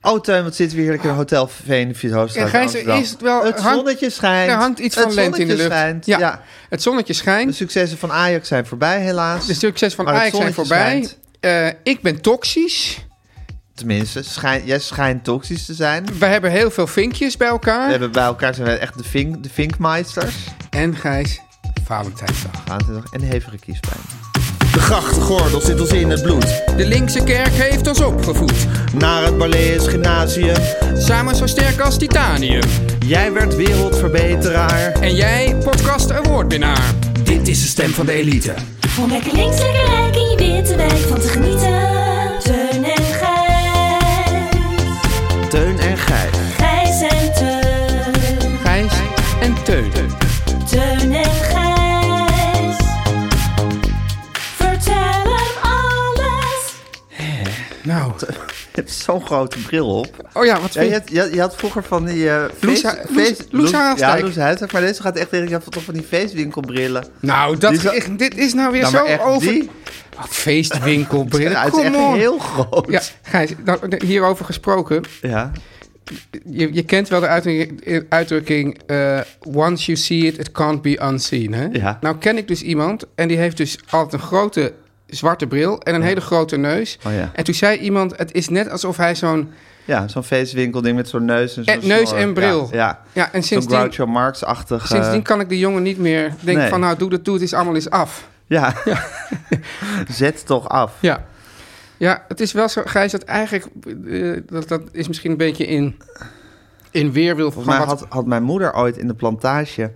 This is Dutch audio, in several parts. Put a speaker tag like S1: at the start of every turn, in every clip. S1: Oh, Teun, wat zitten we heerlijk in Hotel Veenvieshoofdstraat
S2: Ja, Gijs, er
S1: Amsterdam.
S2: is wel-
S1: het
S2: hangt-
S1: zonnetje schijnt.
S2: Er hangt iets
S1: Het
S2: van lente in de
S1: zonnetje
S2: lucht.
S1: schijnt,
S2: Ja.
S1: Ja.
S2: Het zonnetje
S1: De
S2: schijnt.
S1: successen van Ajax zijn voorbij, helaas.
S2: De succes van
S1: Maar Oh, het
S2: Ajax zijn
S1: zonnetje
S2: voorbij.
S1: schijnt.
S2: Eh, ik ben toxisch.
S1: Tenminste, schijn, jij schijnt toxisch te zijn. We
S2: We hebben heel veel vinkjes bij elkaar.
S1: hebben bij elkaar zijn we echt de, vink, de vinkmeisters.
S2: En Gijs, Valentijnsdag.
S1: Maandag En hevige kiespijn.
S3: De grachtgordel zit ons in het bloed.
S2: De linkse kerk heeft ons opgevoed.
S3: Naar het Barlees Gymnasium.
S2: Samen zo sterk als titanium.
S3: Jij werd wereldverbeteraar.
S2: En jij, podcast awardwinnaar.
S3: Dit is de stem van de elite.
S4: Om lekker links, lekker rijk in je witte wijk van te genieten. Teun en Gijs.
S3: Teun en Gijs.
S4: Gijs en Teun.
S2: Gijs en Teun.
S4: Teun en Gijs. Vertel hem alles.
S2: Nou,
S1: Je hebt zo'n grote bril op.
S2: oh ja, wat
S1: Ja, je,
S2: vind
S1: had, je, had- je had vroeger van die... eh
S2: Loes-
S1: feest-
S2: Loes-
S1: feest-
S2: Loes Haastijk.
S1: Ja, Loes Haastijk. Maar deze gaat echt... Ik had toch van die feestwinkelbrillen.
S2: Nou, dat
S1: Dit is-
S2: echt- dit is nou weer
S1: Nou,
S2: zo
S1: maar echt
S2: over...
S1: die.
S2: Ah, Feestwinkelbrillen,
S1: Ja, het is
S2: kom
S1: echt
S2: on.
S1: heel groot.
S2: Ja, Gijs, nou, de- hierover gesproken.
S1: Ja.
S2: Je, je kent wel de uitdrukking, uitdrukking eh, once you see it, it can't be unseen. Hè?
S1: Ja.
S2: Nou ken ik dus iemand en die heeft dus altijd een grote zwarte bril en een hele grote neus.
S1: Oh ja.
S2: En toen zei iemand, het is net alsof hij zo'n...
S1: Ja, zo'n feestwinkelding met zo'n neus en zo'n
S2: Eh, neus
S1: snor.
S2: en bril.
S1: Ja, ja.
S2: Ja, en
S1: Zo'n
S2: sindsdien,
S1: Groucho Marx-achtig. eh,
S2: sindsdien kan ik de jongen niet meer denken
S1: Nee.
S2: van nou doe dat, doe het is allemaal eens af.
S1: Ja. Zet toch af.
S2: Ja. Ja, het is wel zo, Gijs, dat eigenlijk... eh, dat, dat is misschien een beetje in, in weerwil van
S1: Volgens mij
S2: wat...
S1: had, had mijn moeder ooit in de plantage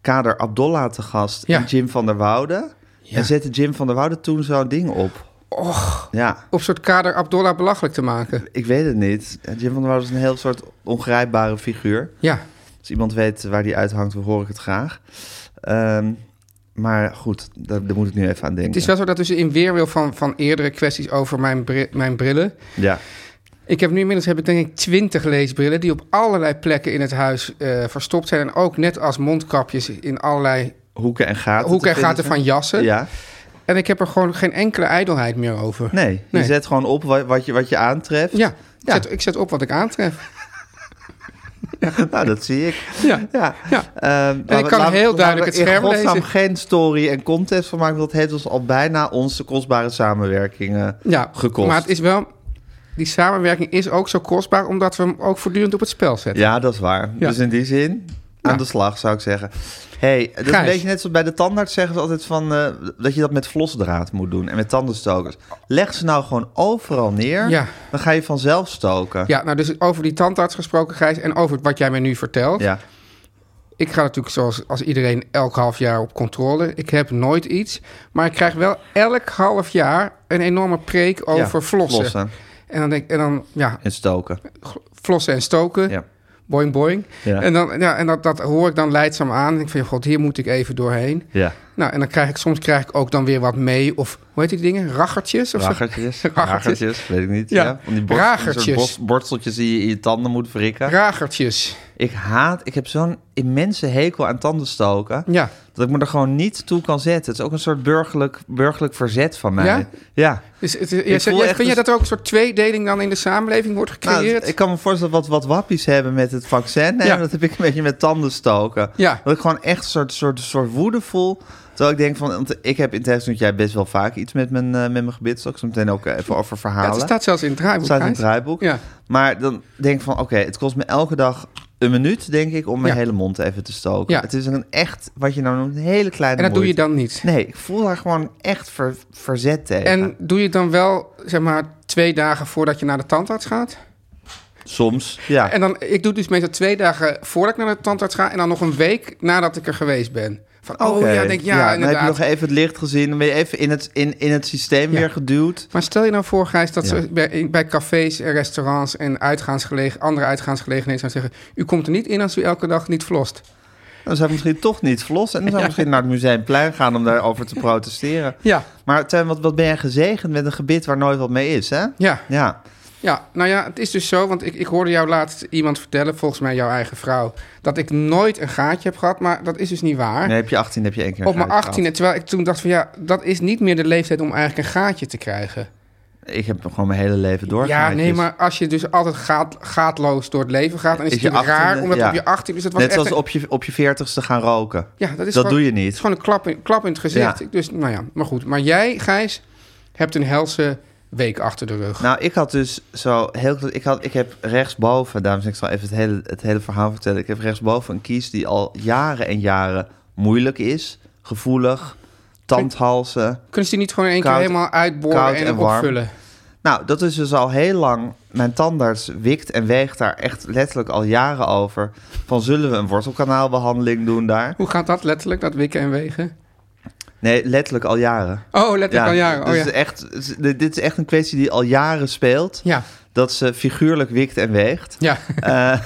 S1: kader Abdollah te gast
S2: Ja.
S1: en Jim van der Woude.
S2: Ja.
S1: En zette Jim van der Woude toen zo'n ding op. Och. Ja,
S2: Op soort kader Abdullah belachelijk te maken.
S1: ik weet het niet. Jim van der Woude is een heel soort ongrijpbare figuur.
S2: Ja.
S1: Als iemand weet waar die uithangt, dan hoor ik het graag. Ehm, maar goed, daar, daar moet ik nu even aan denken.
S2: Het is wel zo dat dus in weerwil van, van eerdere kwesties over mijn, bri- mijn brillen.
S1: Ja.
S2: Ik heb nu inmiddels heb ik denk ik twintig leesbrillen die op allerlei plekken in het huis eh, verstopt zijn. En ook net als mondkapjes in allerlei
S1: Hoeken en gaten.
S2: hoeken en
S1: te vinden
S2: gaten van jassen.
S1: zijn. Ja.
S2: En ik heb er gewoon geen enkele ijdelheid meer over.
S1: Nee, je
S2: Nee.
S1: zet gewoon op wa- wat je, wat je aantreft.
S2: Ja, Ik,
S1: Ja.
S2: zet, ik zet op wat ik aantref.
S1: Nou, dat zie ik.
S2: Ja.
S1: Ja.
S2: Ja.
S1: Ehm, laten
S2: ik
S1: we-
S2: kan
S1: laten-
S2: heel
S1: laten
S2: duidelijk
S1: we
S2: het scherm
S1: in godsnaam
S2: lezen.
S1: geen story en context van maken. want Dat heeft ons al bijna onze kostbare samenwerking eh,
S2: ja.
S1: gekost.
S2: Maar het is wel, die samenwerking is ook zo kostbaar omdat we hem ook voortdurend op het spel zetten.
S1: Ja, dat is waar.
S2: Ja.
S1: Dus in die zin, aan
S2: Ja.
S1: de slag zou ik zeggen. hey, dat is een
S2: Gijs.
S1: beetje net zoals bij de tandarts zeggen ze altijd van... eh, dat je dat met vlosdraad moet doen en met tandenstokers. Leg ze nou gewoon overal neer,
S2: Ja.
S1: dan ga je vanzelf stoken.
S2: Ja, nou dus over die tandarts gesproken, Gijs, en over wat jij mij nu vertelt.
S1: Ja.
S2: Ik ga natuurlijk zoals als iedereen elk half jaar op controle. Ik heb nooit iets. Maar ik krijg wel elk half jaar een enorme preek
S1: Ja,
S2: over flossen. En dan denk ik, en dan, ja,
S1: en stoken.
S2: flossen en stoken.
S1: Ja.
S2: Boing, boing.
S1: Ja.
S2: En, dan, ja, en dat, dat hoor ik dan leidzaam aan. En ik vind, god, hier moet ik even doorheen.
S1: Ja.
S2: Nou, en dan krijg ik soms krijg ik ook dan weer wat mee. Of hoe heet die dingen? Raggertjes of zo?
S1: Ragertjes,
S2: Ragertjes.
S1: ragertjes, weet ik niet.
S2: Ja.
S1: Ja. Van die borst,
S2: Ragertjes.
S1: soort borst- borsteltjes die je in je tanden moet wrikken.
S2: Ragertjes.
S1: ik haat, ik heb zo'n immense hekel aan tandenstoken.
S2: Ja.
S1: Dat ik me er gewoon niet toe kan zetten. Het is ook een soort burgerlijk, burgerlijk verzet van mij.
S2: Ja?
S1: ja.
S2: Dus het, je zegt-
S1: voel
S2: jij-
S1: echt
S2: vind jij
S1: een-
S2: dat er ook een soort tweedeling dan in de samenleving wordt
S1: Nou,
S2: gecreëerd?
S1: ik kan me voorstellen wat, wat wappies hebben met het vaccin. Nee,
S2: Ja.
S1: Dat heb ik een beetje met tanden stoken.
S2: Ja.
S1: Dat ik gewoon echt een soort, soort, soort woede voel. Terwijl ik denk van, want ik heb in tegenstelling tot jij best wel vaak iets met mijn, eh, met mijn gebit. Zal ik zo meteen ook even over
S2: ja,
S1: verhalen.
S2: het staat zelfs in het draaiboek.
S1: Het staat in het
S2: Gijs.
S1: draaiboek.
S2: Ja.
S1: Maar dan denk ik van, oké, het kost me elke dag een minuut, denk ik, om mijn
S2: Ja.
S1: hele mond even te stoken.
S2: Ja.
S1: Het is een echt, wat je nou noemt, een hele kleine
S2: En dat doe je
S1: moeite.
S2: dan niet.
S1: Nee, ik voel daar gewoon echt ver- verzet tegen.
S2: En doe je het dan wel, zeg maar, twee dagen voordat je naar de tandarts gaat?
S1: Soms, ja.
S2: En dan, ik doe het dus meestal twee dagen voordat ik naar de tandarts ga... en dan nog een week nadat ik er geweest ben. Van, oh
S1: Oké.
S2: ja, denk ik, ja,
S1: dan heb je
S2: inderdaad.
S1: nog e- even het licht gezien, dan ben je even in het, in, in het systeem
S2: Ja.
S1: weer geduwd.
S2: Maar stel je nou voor, Gijs,
S1: Ja.
S2: dat ze bij, in- bij cafés en restaurants... en uitgaansgelegen, andere uitgaansgelegenheden zouden zeggen... u komt er niet in als u elke dag niet flost.
S1: Dan zou ik misschien toch niet vlossen en dan zou ik misschien naar het museumplein gaan om daarover te protesteren.
S2: Ja.
S1: Maar Tuin, wat, wat ben jij gezegend met een gebit waar nooit wat mee is, hè?
S2: Ja.
S1: Ja.
S2: Ja, nou ja, het is dus zo, want ik, ik hoorde jou laatst iemand vertellen, volgens mij jouw eigen vrouw, dat ik nooit een gaatje heb gehad, maar dat is dus niet waar.
S1: Nee, heb je 18 heb je één keer
S2: Op mijn
S1: gehad.
S2: 18e, terwijl ik toen dacht van ja, dat is niet meer de leeftijd om eigenlijk een gaatje te krijgen.
S1: Ik heb gewoon mijn hele leven doorgegaan.
S2: Ja, nee, maar als je dus altijd gaat, gaatloos door het leven gaat, dan is,
S1: Is
S2: het
S1: je
S2: natuurlijk raar
S1: 18e,
S2: omdat
S1: ja.
S2: op je 18 dus het was
S1: Net
S2: echt
S1: zoals
S2: een-
S1: op je, op je 40ste gaan roken.
S2: ja, dat is
S1: dat
S2: gewoon-
S1: doe je niet.
S2: Het is gewoon een klap in, klap in het gezicht.
S1: Ja.
S2: Dus nou ja, maar goed. Maar jij, Gijs, hebt een helse week achter de rug.
S1: Nou, ik had dus zo heel... kle- Ik, had, ik heb rechtsboven, dames en heren, ik zal even het hele, het hele verhaal vertellen. Ik heb rechtsboven een kies die al jaren en jaren moeilijk is. Gevoelig, tandhalsen.
S2: Kunnen ze die niet gewoon in één
S1: Koud-
S2: keer helemaal uitboren
S1: koud
S2: en,
S1: en warm.
S2: opvullen?
S1: Nou, dat is dus al heel lang. Mijn tandarts wikt en weegt daar echt letterlijk al jaren over. Van zullen we een wortelkanaalbehandeling doen daar?
S2: Hoe gaat dat letterlijk, dat wikken en wegen?
S1: Nee, letterlijk al jaren.
S2: Oh, letterlijk al jaren.
S1: dus
S2: Oh, ja.
S1: het is echt, dit is echt een kwestie die al jaren speelt.
S2: Ja,
S1: dat ze figuurlijk wikt en weegt.
S2: ja.
S1: Eh,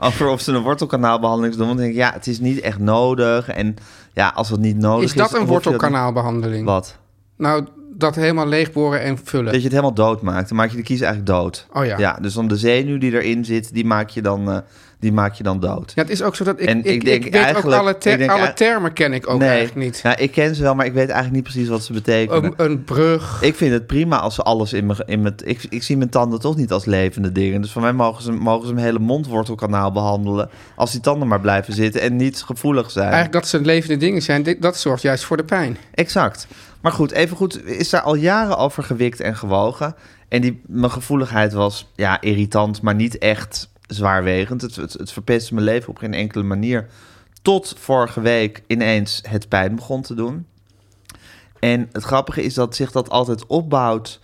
S1: over of ze een wortelkanaalbehandeling doen. Want dan denk ik, ja, het is niet echt nodig. En ja, als het niet nodig is...
S2: Is dat
S1: dan
S2: een
S1: hoef je dat niet-
S2: wortelkanaalbehandeling?
S1: Wat?
S2: Nou, dat helemaal leegboren en vullen.
S1: Dat je het helemaal dood maakt. Dan maak je de kies eigenlijk dood.
S2: Oh ja.
S1: Ja, dus dan de zenuw die erin zit, die maak je dan, eh, die maak je dan dood.
S2: Ja, het is ook zo dat ik,
S1: En
S2: ik,
S1: ik
S2: ik
S1: denk
S2: weet ook
S1: eigenlijk-
S2: alle, ter-
S1: ik denk
S2: alle
S1: eigenlijk-
S2: termen ken ik ook eigenlijk niet.
S1: Nou, ik ken ze wel, maar ik weet eigenlijk niet precies wat ze betekenen.
S2: Een, een brug.
S1: Ik vind het prima als ze alles in mijn... In mijn ik, ik zie mijn tanden toch niet als levende dingen. Dus voor mij mogen ze, mogen ze mijn hele mondwortelkanaal behandelen. Als die tanden maar blijven zitten en niet gevoelig zijn.
S2: Eigenlijk dat ze levende dingen zijn, dit- dat zorgt juist voor de pijn.
S1: Exact. Maar goed, even goed, is daar al jaren over gewikt en gewogen. En die, mijn gevoeligheid was ja, irritant, maar niet echt zwaarwegend. Het, het, het verpestte mijn leven op geen enkele manier. Tot vorige week ineens het pijn begon te doen. En het grappige is dat zich dat altijd opbouwt,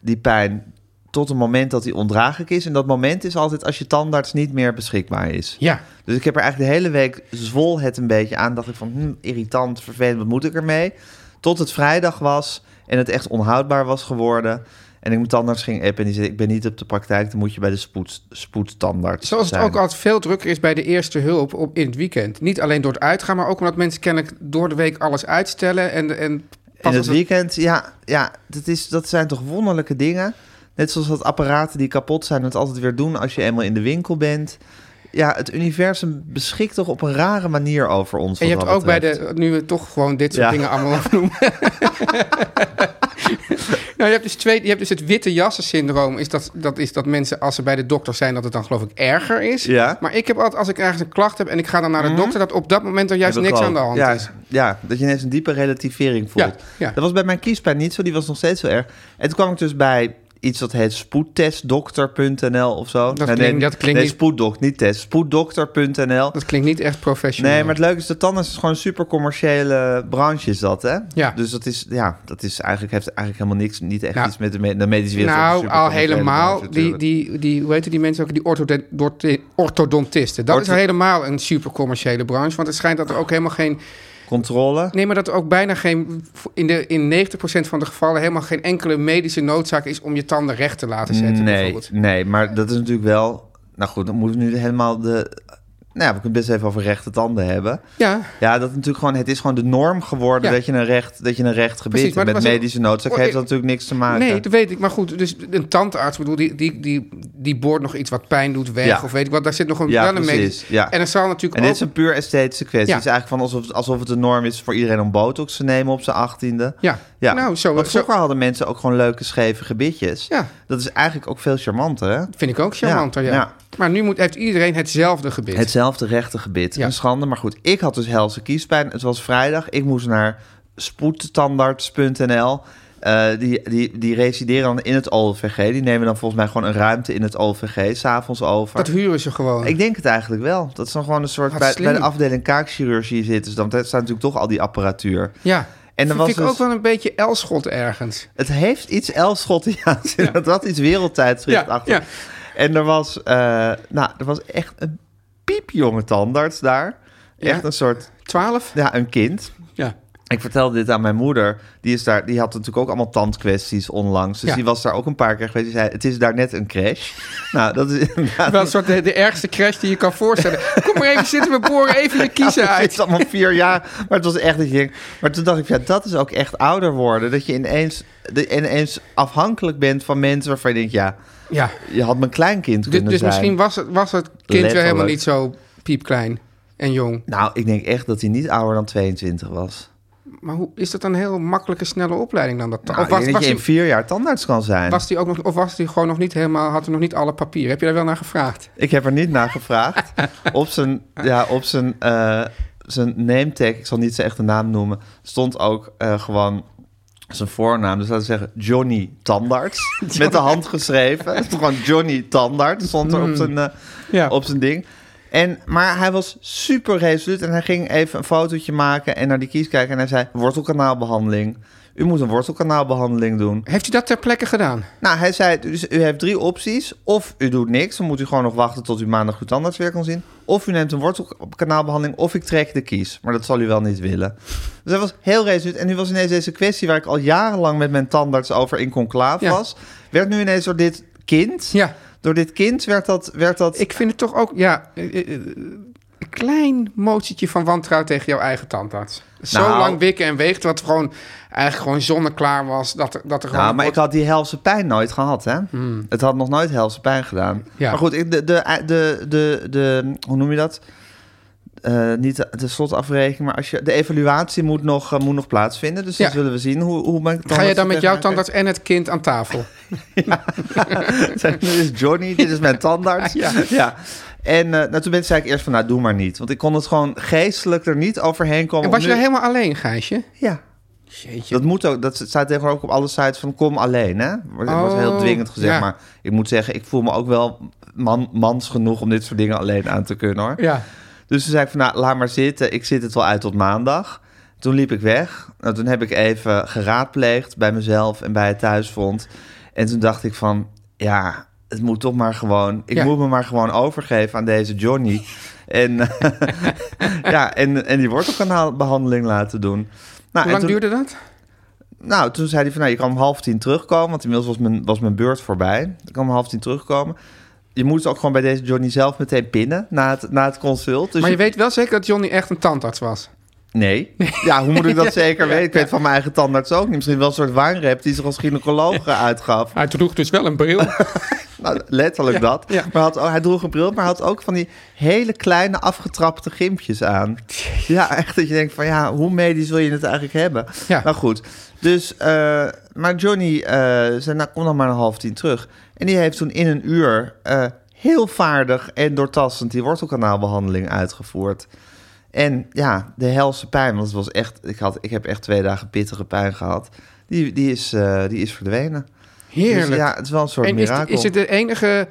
S1: die pijn, tot een moment dat die ondraaglijk is. En dat moment is altijd als je tandarts niet meer beschikbaar is.
S2: Ja,
S1: Dus ik heb er eigenlijk de hele week zwol het een beetje aan. Dacht ik van, hm, irritant, vervelend, wat moet ik ermee? Tot het vrijdag was en het echt onhoudbaar was geworden. En ik mijn tandarts ging appen en die zei, ik ben niet op de praktijk. Dan moet je bij de spoed, spoedtandarts
S2: zoals het
S1: zijn.
S2: ook altijd veel drukker is bij de eerste hulp op, in het weekend. Niet alleen door het uitgaan, maar ook omdat mensen kennelijk door de week alles uitstellen. En, en pas
S1: In
S2: als
S1: het
S2: het-
S1: weekend, ja, ja dat, is, dat zijn toch wonderlijke dingen. Net zoals dat apparaten die kapot zijn het altijd weer doen als je eenmaal in de winkel bent. Ja, het universum beschikt toch op een rare manier over ons.
S2: En je
S1: wat
S2: hebt
S1: dat
S2: ook bij
S1: betreft.
S2: de, nu we toch gewoon dit soort
S1: Ja.
S2: dingen allemaal noemen. nou, je hebt dus twee, je hebt dus het witte jassen syndroom. Is dat, dat is dat mensen als ze bij de dokter zijn, dat het dan geloof ik erger is.
S1: Ja. Mhm.
S2: Maar ik heb altijd, als ik ergens een klacht heb en ik ga dan naar de dokter, dat op dat moment er juist
S1: Heb ik
S2: niks
S1: ook.
S2: aan de hand
S1: ja,
S2: is.
S1: Ja, dat je ineens een diepe relativering voelt.
S2: Ja, ja.
S1: Dat was bij mijn kiespijn niet zo, die was nog steeds zo erg. En toen kwam ik dus bij iets dat heet spoedtestdokter.nl of zo. Nee, nee,
S2: klinkt- dat klinkt
S1: nee,
S2: niet-
S1: spoeddok, niet test, spoeddokter.nl.
S2: Dat klinkt niet echt professioneel.
S1: Nee, maar het leuke is, de tandarts is gewoon een super commerciële branche is dat, hè?
S2: Ja.
S1: Dus dat is, ja, dat is eigenlijk, heeft eigenlijk helemaal niks, niet echt
S2: Nou,
S1: iets met de, me- de medische wereld. Het
S2: nou,
S1: is een
S2: al
S1: supercommerciële branche
S2: helemaal. Die,
S1: natuurlijk.
S2: die, die, hoe heten die mensen ook? Die orthodo- dorti- orthodontisten. Dat is
S1: Ortho-
S2: helemaal een supercommerciële branche. Want het schijnt dat er ook helemaal geen
S1: Controle.
S2: Nee, maar dat er ook bijna geen, in, de, in 90% van de gevallen helemaal geen enkele medische noodzaak is om je tanden recht te laten zetten.
S1: Nee,
S2: bijvoorbeeld.
S1: nee, maar dat is natuurlijk wel. Nou goed, dan moeten we nu helemaal de. ja, we kunnen het best even over rechte tanden hebben.
S2: Ja,
S1: Ja, dat natuurlijk gewoon, het is gewoon de norm geworden
S2: Ja.
S1: dat je een recht, dat je een recht gebied
S2: Precies, maar
S1: hebt. Met
S2: dat was ook-
S1: medische noodzaak
S2: Oh,
S1: heeft
S2: ik-
S1: Nou, dat natuurlijk niks te maken.
S2: nee, dat weet ik. Maar goed, dus een tandarts, bedoel, die, die, die, die boort nog iets wat pijn doet weg.
S1: Ja.
S2: Of weet ik wat, daar zit nog een,
S1: Ja,
S2: wel een
S1: precies,
S2: medisch-
S1: ja.
S2: En er zal natuurlijk
S1: en
S2: ook...
S1: dit is een puur esthetische kwestie.
S2: Ja.
S1: Het is eigenlijk van alsof, alsof het de norm is voor iedereen om botox te nemen op zijn achttiende.
S2: Ja.
S1: ja.
S2: Nou, zo-
S1: Want
S2: zo-
S1: vroeger hadden mensen ook gewoon leuke scheve gebitjes.
S2: Ja.
S1: Dat is eigenlijk ook veel charmanter, hè?
S2: Vind ik ook charmanter, ja.
S1: Ja, ja.
S2: Maar nu moet, heeft iedereen hetzelfde gebit.
S1: Hetzelfde rechte gebit.
S2: Ja.
S1: Een schande. Maar goed, ik had dus helse kiespijn. Het was vrijdag. Ik moest naar spoedtandarts.nl. Eh, die, die, die resideren dan in het OVG. Die nemen dan volgens mij gewoon een ruimte in het OVG. S'avonds over.
S2: Dat huren ze gewoon.
S1: Ik denk het eigenlijk wel. Dat is dan gewoon een soort...
S2: Wat
S1: Bij,
S2: slim.
S1: bij de afdeling kaakchirurgie zitten ze dan. Daar staat natuurlijk toch al die apparatuur.
S2: ja.
S1: En dan
S2: Vind
S1: was
S2: ik
S1: dus-
S2: ook wel een beetje Elschot ergens.
S1: Het heeft iets Elschottiaans. Ja. Dat had iets wereldtijdschrift
S2: Ja,
S1: achter.
S2: ja.
S1: En er was, eh, nou, er was echt een piepjonge tandarts daar.
S2: Ja.
S1: Echt een soort,
S2: Twaalf?
S1: ja, een kind.
S2: Ja.
S1: Ik vertelde dit aan mijn moeder. Die, is daar, die had natuurlijk ook allemaal tandkwesties onlangs. Dus
S2: Ja.
S1: die was daar ook een paar keer geweest. Die zei, het is daar net een crash. nou, dat is inderdaad...
S2: Wel een soort de, de ergste crash die je kan voorstellen. Kom maar even zitten, we boren even je kiezen
S1: Het is
S2: uit.
S1: allemaal vier jaar. Maar het was echt dat je denkt... Maar toen dacht ik, ja, dat is ook echt ouder worden. Dat je ineens, de, ineens afhankelijk bent van mensen waarvan je denkt... ja,
S2: Ja.
S1: je had mijn kleinkind
S2: Dus,
S1: kunnen
S2: dus
S1: zijn.
S2: misschien was het, was het kind wel
S1: Letterlijk.
S2: helemaal niet zo piepklein en jong.
S1: Nou, ik denk echt dat hij niet ouder dan 22 was.
S2: Maar hoe, is dat een heel makkelijke, snelle opleiding dan dat?
S1: Nou,
S2: of was,
S1: ik denk
S2: was,
S1: dat je in
S2: die,
S1: vier jaar tandarts kan zijn.
S2: was die ook nog, of was die gewoon nog niet helemaal, had hij nog niet alle papieren? Heb je daar wel naar gevraagd?
S1: Ik heb er niet naar gevraagd. op zijn, ja, op zijn, eh, zijn name tag, ik zal niet zijn echte naam noemen, stond ook eh, gewoon zijn voornaam. Dus laten we zeggen Johnny Tandarts. Met de hand geschreven. Het stond gewoon Johnny Tandarts stond er op zijn, eh,
S2: Ja.
S1: op zijn ding. En, maar hij was super resoluut en hij ging even een fotootje maken en naar die kies kijken. En hij zei, wortelkanaalbehandeling. U moet een wortelkanaalbehandeling doen.
S2: Heeft u dat ter plekke gedaan?
S1: Nou, hij zei, dus u hebt drie opties. Of u doet niks, dan moet u gewoon nog wachten tot u maandag uw tandarts weer kan zien. Of u neemt een wortelkanaalbehandeling, of ik trek de kies. Maar dat zal u wel niet willen. Dus hij was heel resoluut. En nu was ineens deze kwestie waar ik al jarenlang met mijn tandarts over in conclaaf
S2: Ja.
S1: was. Werd nu ineens door dit kind,
S2: Ja.
S1: door dit kind werd dat... Werd dat
S2: Ik vind het toch ook, ja, eh, eh, eh, een klein motietje van wantrouwen tegen jouw eigen tandarts. Zo
S1: Nou.
S2: lang wikken en weegt, wat gewoon eigenlijk gewoon zonneklaar was. Dat er, dat er gewoon
S1: nou, maar ik
S2: wordt-
S1: had die helse pijn nooit gehad, hè? Het had nog nooit helse pijn gedaan.
S2: Ja.
S1: Maar goed, ik- de, de, de, de, de, hoe noem je dat? Eh, niet de, de slotafrekening, maar als je, de evaluatie moet nog, eh, moet nog plaatsvinden. Dus
S2: Ja.
S1: dat willen we zien. Hoe, hoe ben ik
S2: Ga je dan met jouw tandarts en het kind aan tafel?
S1: Dit is Johnny, dit is mijn tandarts. ja. En eh, nou, toen ben ik, zei ik eerst van, nou, doe maar niet. Want ik kon het gewoon geestelijk er niet overheen komen. om
S2: En was je
S1: nu-
S2: daar helemaal alleen, Gijsje?
S1: Ja. Dat moet ook. Dat staat tegenwoordig ook op alle sites van kom alleen, hè? Wordt, wordt
S2: Oh,
S1: heel dwingend gezegd,
S2: ja.
S1: maar ik moet zeggen, ik voel me ook wel man, mans genoeg om dit soort dingen alleen aan te kunnen, hoor.
S2: Ja.
S1: Dus toen zei ik van, nou, laat maar zitten. Ik zit het wel uit tot maandag. Toen liep ik weg. Nou, toen heb ik even geraadpleegd bij mezelf en bij het thuisfront. En toen dacht ik van, ja, het moet toch maar gewoon... Ik
S2: Ja.
S1: moet me maar gewoon overgeven aan deze Johnny. en, ja, en, en die wortelkanaalbehandeling laten doen. Nou,
S2: Hoe
S1: en
S2: lang
S1: toen-
S2: duurde dat?
S1: nou, toen zei hij van, nou, je kan om half tien terugkomen. Want inmiddels was mijn, was mijn beurt voorbij. Ik kan om half tien terugkomen. Je moet ook gewoon bij deze Johnny zelf meteen pinnen na het, na het consult. Dus
S2: maar je weet wel zeker dat Johnny echt een tandarts was.
S1: Nee. Ja, hoe moet ik dat zeker weten? Ik weet van mijn eigen tandarts ook niet. Misschien wel een soort waanrep die zich als gynaecoloog eh, uitgaf.
S2: Hij droeg dus wel een bril.
S1: Nou, letterlijk dat.
S2: ja.
S1: Maar had, ook- hij droeg een bril, maar had ook van die hele kleine afgetrapte gimpjes aan. Ja, echt dat je denkt van ja, hoe medisch wil je het eigenlijk hebben?
S2: Ja.
S1: Nou goed, dus, eh, maar Johnny eh, zei nou kom dan maar een half tien terug. En die heeft toen in een uur eh, heel vaardig en doortastend die wortelkanaalbehandeling uitgevoerd. En ja, de helse pijn, want het was echt, ik, had, ik heb echt twee dagen pittige pijn gehad. Die, die, is, eh, die is verdwenen.
S2: Heerlijk.
S1: Dus ja, het is wel een soort
S2: en is,
S1: mirakel.
S2: is het de enige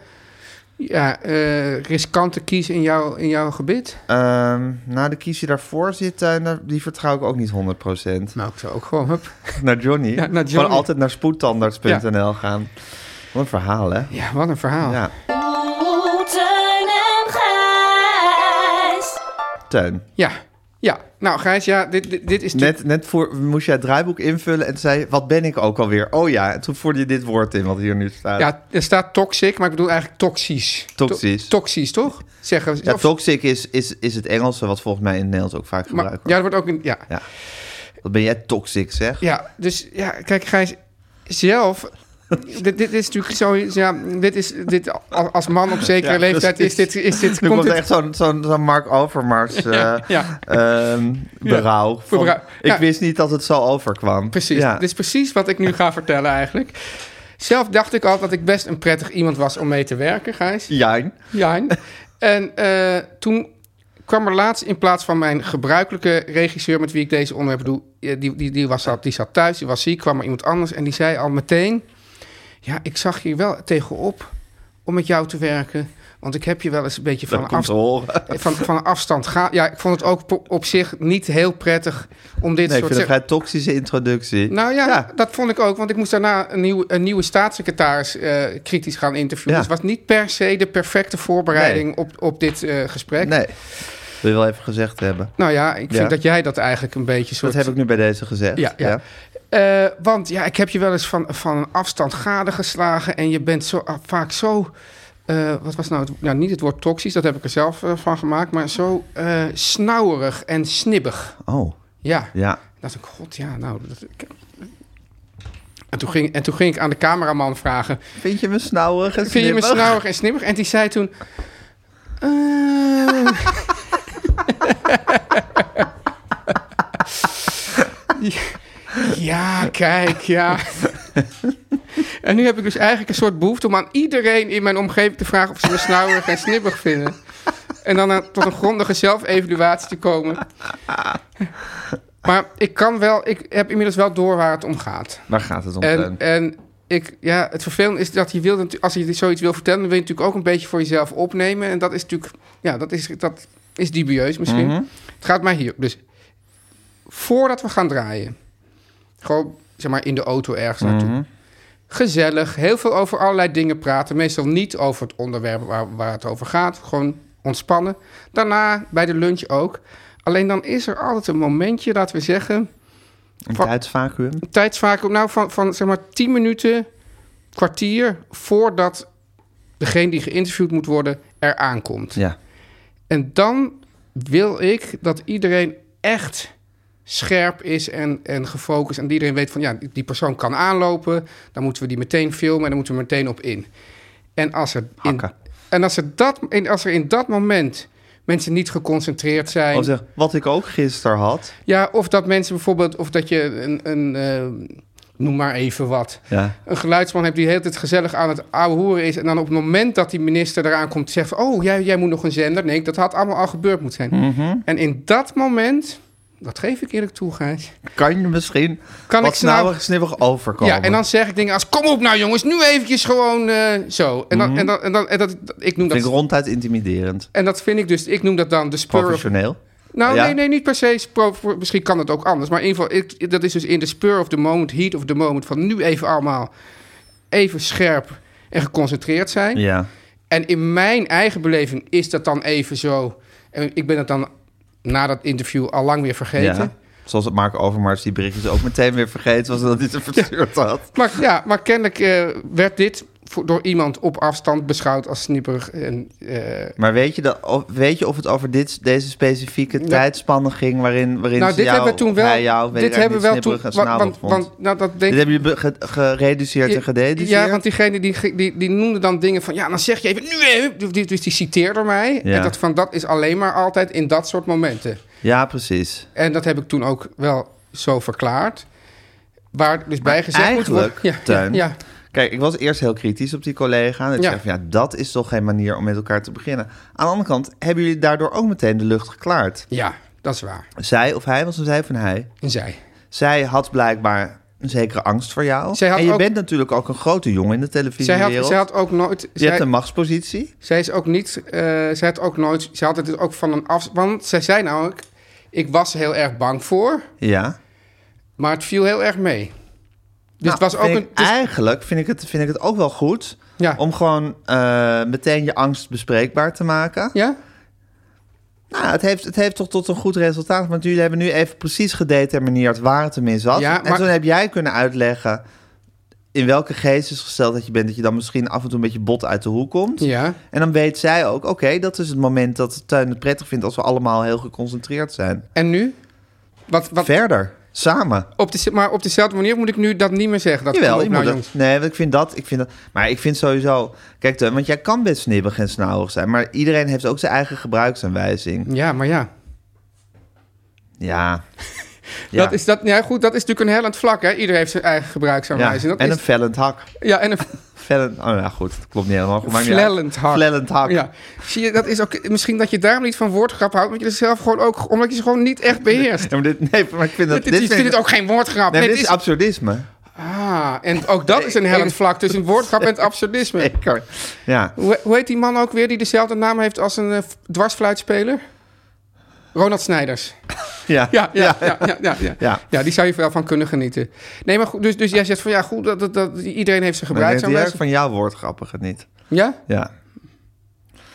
S2: ja, eh, riskante kies in, jou, in jouw gebit?
S1: Ehm, nou, de kies die daarvoor zit, eh, daar- die vertrouw ik ook niet 100%.
S2: Nou, ik zou ook gewoon... Hup.
S1: Naar Johnny.
S2: Ja, naar
S1: Gewoon
S2: Johnny.
S1: altijd naar spoedtandarts.nl gaan. Wat een verhaal, hè?
S2: Ja, wat een verhaal.
S1: Ja,
S4: Teun Oh, en Gijs.
S1: Teun.
S2: Ja, ja. Nou, Gijs, ja, dit, dit, dit is natuurlijk-
S1: Net, net voor, moest jij het draaiboek invullen en zei... wat ben ik ook alweer? Oh ja, en toen voerde je dit woord in wat hier nu staat.
S2: Ja, er staat toxic, maar ik bedoel eigenlijk toxisch.
S1: Toxisch.
S2: To- toxisch, toch? Zeggen we.
S1: Ja,
S2: of-
S1: toxic is, is, is het Engelse wat volgens mij in het Nederlands ook vaak
S2: maar-
S1: gebruikt
S2: ja,
S1: wordt.
S2: dat wordt ook een. Ja.
S1: Ja. Wat ben jij toxic, zeg?
S2: ja, dus ja, kijk, Gijs, zelf. dit, dit is natuurlijk zo. Ja, dit is, dit, al- als man op zekere
S1: Ja,
S2: leeftijd is
S1: precies.
S2: dit. Is dit
S1: Nu
S2: komt
S1: komt
S2: dit,
S1: echt zo'n zo'n zo'n Mark Overmars eh
S2: ja.
S1: ehm, berouw. van,
S2: Berouw,
S1: Ik
S2: ja.
S1: wist niet dat het zo overkwam.
S2: Precies.
S1: Ja.
S2: Dit is precies wat ik nu ga vertellen eigenlijk. Zelf dacht ik al dat ik best een prettig iemand was om mee te werken, Gijs.
S1: Jijn.
S2: Jijn. En eh, toen kwam er laatst in plaats van mijn gebruikelijke regisseur met wie ik deze onderwerp doe, eh, die, die, die, was, zat- die zat thuis, die was ziek, kwam er iemand anders en die zei al meteen, ja, ik zag je wel tegenop om met jou te werken, want ik heb je wel eens een beetje van
S1: Dat
S2: een
S1: komt
S2: afstand
S1: te horen.
S2: van, van een afstand gaan. Ja, ik vond het ook po- op zich niet heel prettig om
S1: Nee,
S2: dit
S1: ik vind
S2: soort...
S1: het een
S2: zeg-
S1: vrij toxische introductie.
S2: nou ja,
S1: Ja.
S2: dat vond ik ook. Want ik moest daarna een nieuwe, een nieuwe staatssecretaris eh, kritisch gaan interviewen.
S1: Ja.
S2: Dus het was niet per se de perfecte voorbereiding
S1: Nee.
S2: op, op dit eh, gesprek.
S1: Nee, wil je wel even gezegd hebben.
S2: Nou ja, ik vind
S1: Ja.
S2: dat jij dat eigenlijk een beetje
S1: Dat
S2: soort...
S1: heb ik nu bij deze gezegd.
S2: Ja, ja. Eh, want ja, ik heb je wel eens van, van een afstand gadegeslagen. En je bent zo, ah, vaak zo... eh, wat was nou, het, nou, niet het woord toxisch, dat heb ik er zelf eh, van gemaakt. Maar zo eh snauwerig en snibbig.
S1: Oh,
S2: Ja.
S1: ja.
S2: dacht ik, god ja, nou... Dat, ik- en, toen ging, en toen ging ik aan de cameraman vragen...
S1: Vind je me snauwig en
S2: Vind je me
S1: snibbig?
S2: snauwig en snibbig? En die zei toen... eh. ja, kijk, ja. en nu heb ik dus eigenlijk een soort behoefte om aan iedereen in mijn omgeving te vragen... of ze me snauwig en snibbig vinden. En dan aan- tot een grondige zelfevaluatie te komen. Maar ik kan wel, ik heb inmiddels wel door waar het om gaat.
S1: Waar gaat het om?
S2: En,
S1: Teun?
S2: en ik, ja, het vervelende is dat je wil, natu- als je zoiets wil vertellen, dan wil je natuurlijk ook een beetje voor jezelf opnemen. En dat is natuurlijk, ja, dat is, dat is dubieus misschien. Het gaat maar hier. Dus voordat we gaan draaien, gewoon zeg maar in de auto ergens naartoe. Gezellig, heel veel over allerlei dingen praten. Meestal niet over het onderwerp waar, waar het over gaat. Gewoon ontspannen. Daarna bij de lunch ook. Alleen dan is er altijd een momentje dat we zeggen
S1: Een tijdsvacuüm?
S2: tijdsvacuüm nou van, van zeg maar 10 minuten, kwartier voordat degene die geïnterviewd moet worden er aankomt.
S1: Ja.
S2: En dan wil ik dat iedereen echt scherp is en, en gefocust. En dat iedereen weet van ja, die- die persoon kan aanlopen. Dan moeten we die meteen filmen en dan moeten we meteen op in. En als er in,
S1: Hakken.
S2: en als er, dat, en als er in dat moment mensen niet geconcentreerd zijn.
S1: Oh, zeg, wat ik ook gisteren had.
S2: Ja, of dat mensen bijvoorbeeld, of dat je een, een eh, noem maar even wat,
S1: Ja.
S2: een geluidsman hebt die de hele tijd gezellig aan het ouwe hoeren is. En dan op het moment dat die minister eraan komt, zegt: van, Oh, jij, jij moet nog een zender. Nee, dat had allemaal al gebeurd moeten zijn.
S1: Mhm.
S2: En in dat moment, dat geef ik eerlijk toe, Gijs.
S1: Kan je misschien
S2: Kan
S1: wat
S2: ik snauw-
S1: snauwig en snibbig overkomen?
S2: Ja, en dan zeg ik dingen als: Kom op nou, jongens, nu eventjes gewoon eh, zo. En dan, en dan, en dan, en dat, dat- ik noem
S1: Mhm. Vind ik
S2: dat.
S1: ronduit intimiderend.
S2: En dat vind ik dus, ik noem dat dan de spur of
S1: Professioneel.
S2: Nou,
S1: Ja?
S2: nee, nee, niet per se. is pro- pro- misschien kan het ook anders. Maar in ieder geval, ik, dat is dus in de spur of the moment, heat of the moment... van nu even allemaal even scherp en geconcentreerd zijn.
S1: Ja.
S2: En in mijn eigen beleving is dat dan even zo... en ik ben dat dan na dat interview al lang weer vergeten.
S1: ja. Zoals het Mark Overmars die berichtjes ook meteen weer vergeten was dat hij ze verstuurd had.
S2: Maar, ja, maar kennelijk eh, werd dit voor- door iemand op afstand beschouwd als snipperig. En, eh,
S1: Maar weet je, dat, of, weet je of het over dit, deze specifieke tijdspanne ging waarin, waarin
S2: nou,
S1: ze
S2: dit
S1: jou,
S2: hebben we toen wel...
S1: hij jou, weet
S2: dit
S1: ik eigenlijk
S2: hebben we wel
S1: niet,
S2: toen...
S1: snibberig en
S2: Want,
S1: snauwig
S2: want,
S1: vond?
S2: want- nou, dat denk
S1: Dit hebben jullie be- ge- gereduceerd en gededuceerd?
S2: Ja, want diegene die, die, die noemde dan dingen van... Ja, dan zeg je even... Nu, hè, dus- dus die citeerde mij.
S1: Ja.
S2: En dat, van, dat is alleen maar altijd in dat soort momenten.
S1: Ja, precies.
S2: En dat heb ik toen ook wel zo verklaard. Waar dus bij gezegd moet
S1: eigenlijk,
S2: worden... Ja,
S1: Teun,
S2: ja, ja.
S1: Kijk, ik was eerst heel kritisch op die collega. En ik
S2: Ja.
S1: zei van, ja, dat is toch geen manier om met elkaar te beginnen. Aan de andere kant hebben jullie daardoor ook meteen de lucht geklaard.
S2: Ja, dat is waar.
S1: Zij of hij, was een zij van hij.
S2: En zij.
S1: Zij had blijkbaar een zekere angst voor jou.
S2: Zij had
S1: en je
S2: ook-
S1: bent natuurlijk ook een grote jongen in de
S2: Zij had,
S1: televisiewereld.
S2: zij had ook nooit...
S1: Je hebt
S2: zij-
S1: een machtspositie.
S2: Zij is ook niet, eh, zij had ook nooit, zij had het dus ook van een af, want zij zei nou, ik, ik was er heel erg bang voor,
S1: Ja.
S2: maar het viel heel erg mee. Dus het was ook
S1: vind
S2: een,
S1: Nou, ik-
S2: dus-
S1: Eigenlijk vind ik, het, vind ik het ook wel goed...
S2: Ja.
S1: om gewoon eh, meteen je angst bespreekbaar te maken.
S2: ja?
S1: Nou, het heeft, het heeft toch tot een goed resultaat. Want jullie hebben nu even precies gedetermineerd waar het hem in zat.
S2: Ja,
S1: En
S2: maar-
S1: toen heb jij kunnen uitleggen in welke geest is gesteld dat je bent. Dat je dan misschien af en toe een beetje bot uit de hoek komt.
S2: Ja.
S1: En dan weet zij ook, oké, dat is het moment dat Tuin het prettig vindt... als we allemaal heel geconcentreerd zijn.
S2: En nu? Wat, wat,
S1: Verder, samen.
S2: op de, maar op dezelfde manier moet ik nu dat niet meer zeggen. Dat
S1: Jawel,
S2: kom op
S1: je
S2: nou,
S1: moet dat-
S2: jongens.
S1: nee, want ik vind dat, ik vind dat. Maar ik vind sowieso. Kijk, Teun, want jij kan best snibbig en snauwig zijn. Maar iedereen heeft ook zijn eigen gebruiksaanwijzing.
S2: Ja, maar ja.
S1: Ja. ja.
S2: Dat is, dat, ja goed, dat is natuurlijk een hellend vlak. Hè? Iedereen heeft zijn eigen
S1: ja.
S2: gebruiksaanwijzing.
S1: En
S2: Dat
S1: een
S2: is,
S1: vellend hak.
S2: ja, en een
S1: Vellend. Oh, nou goed, dat klopt niet helemaal. goed, maakt niet uit.
S2: flellend hak.
S1: Flellend hak.
S2: Ja. Zie je, dat is ook, misschien dat je daarom niet van woordgrap houdt. Want je is zelf gewoon ook, omdat je ze gewoon niet echt beheerst.
S1: Ja, maar dit, nee, maar ik vind dat.
S2: Dit, dit,
S1: vind
S2: vindt
S1: ik-
S2: ook geen woordgrap.
S1: Nee, dit
S2: Nee, het
S1: is
S2: is-
S1: absurdisme.
S2: ah, en ook dat is een hellend vlak tussen woordgrap en het absurdisme.
S1: Zeker. Ja.
S2: Hoe, hoe heet die man ook weer die dezelfde naam heeft als een eh, f- dwarsfluitspeler? Ronald Snijders.
S1: Ja.
S2: Ja, ja, ja, ja, ja, ja.
S1: Ja.
S2: ja. die zou je wel van kunnen genieten. Nee, maar goed, dus, dus jij zegt van ja, goed, dat, dat, dat- iedereen heeft zijn
S1: Maar ik denk dat
S2: gebruiksaanwijzing.
S1: van jouw woord grappig het niet.
S2: Ja?
S1: Ja.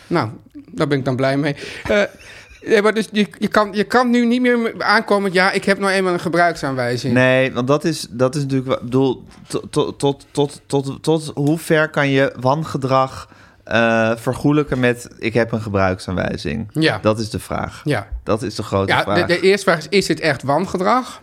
S2: Nou, daar ben ik dan blij mee. Eh, nee, maar dus je, je, kan, je kan nu niet meer me- aankomen, met, ja, ik heb nou eenmaal een gebruiksaanwijzing.
S1: Nee, want dat is, dat is natuurlijk... wa- Ik bedoel, tot, tot, tot, tot, tot, tot hoe ver kan je wangedrag eh vergoelijken met... ik heb een gebruiksaanwijzing?
S2: Ja.
S1: Dat is de vraag.
S2: Ja,
S1: Dat is de grote
S2: ja
S1: vraag.
S2: de, de eerste vraag is, is dit echt wangedrag?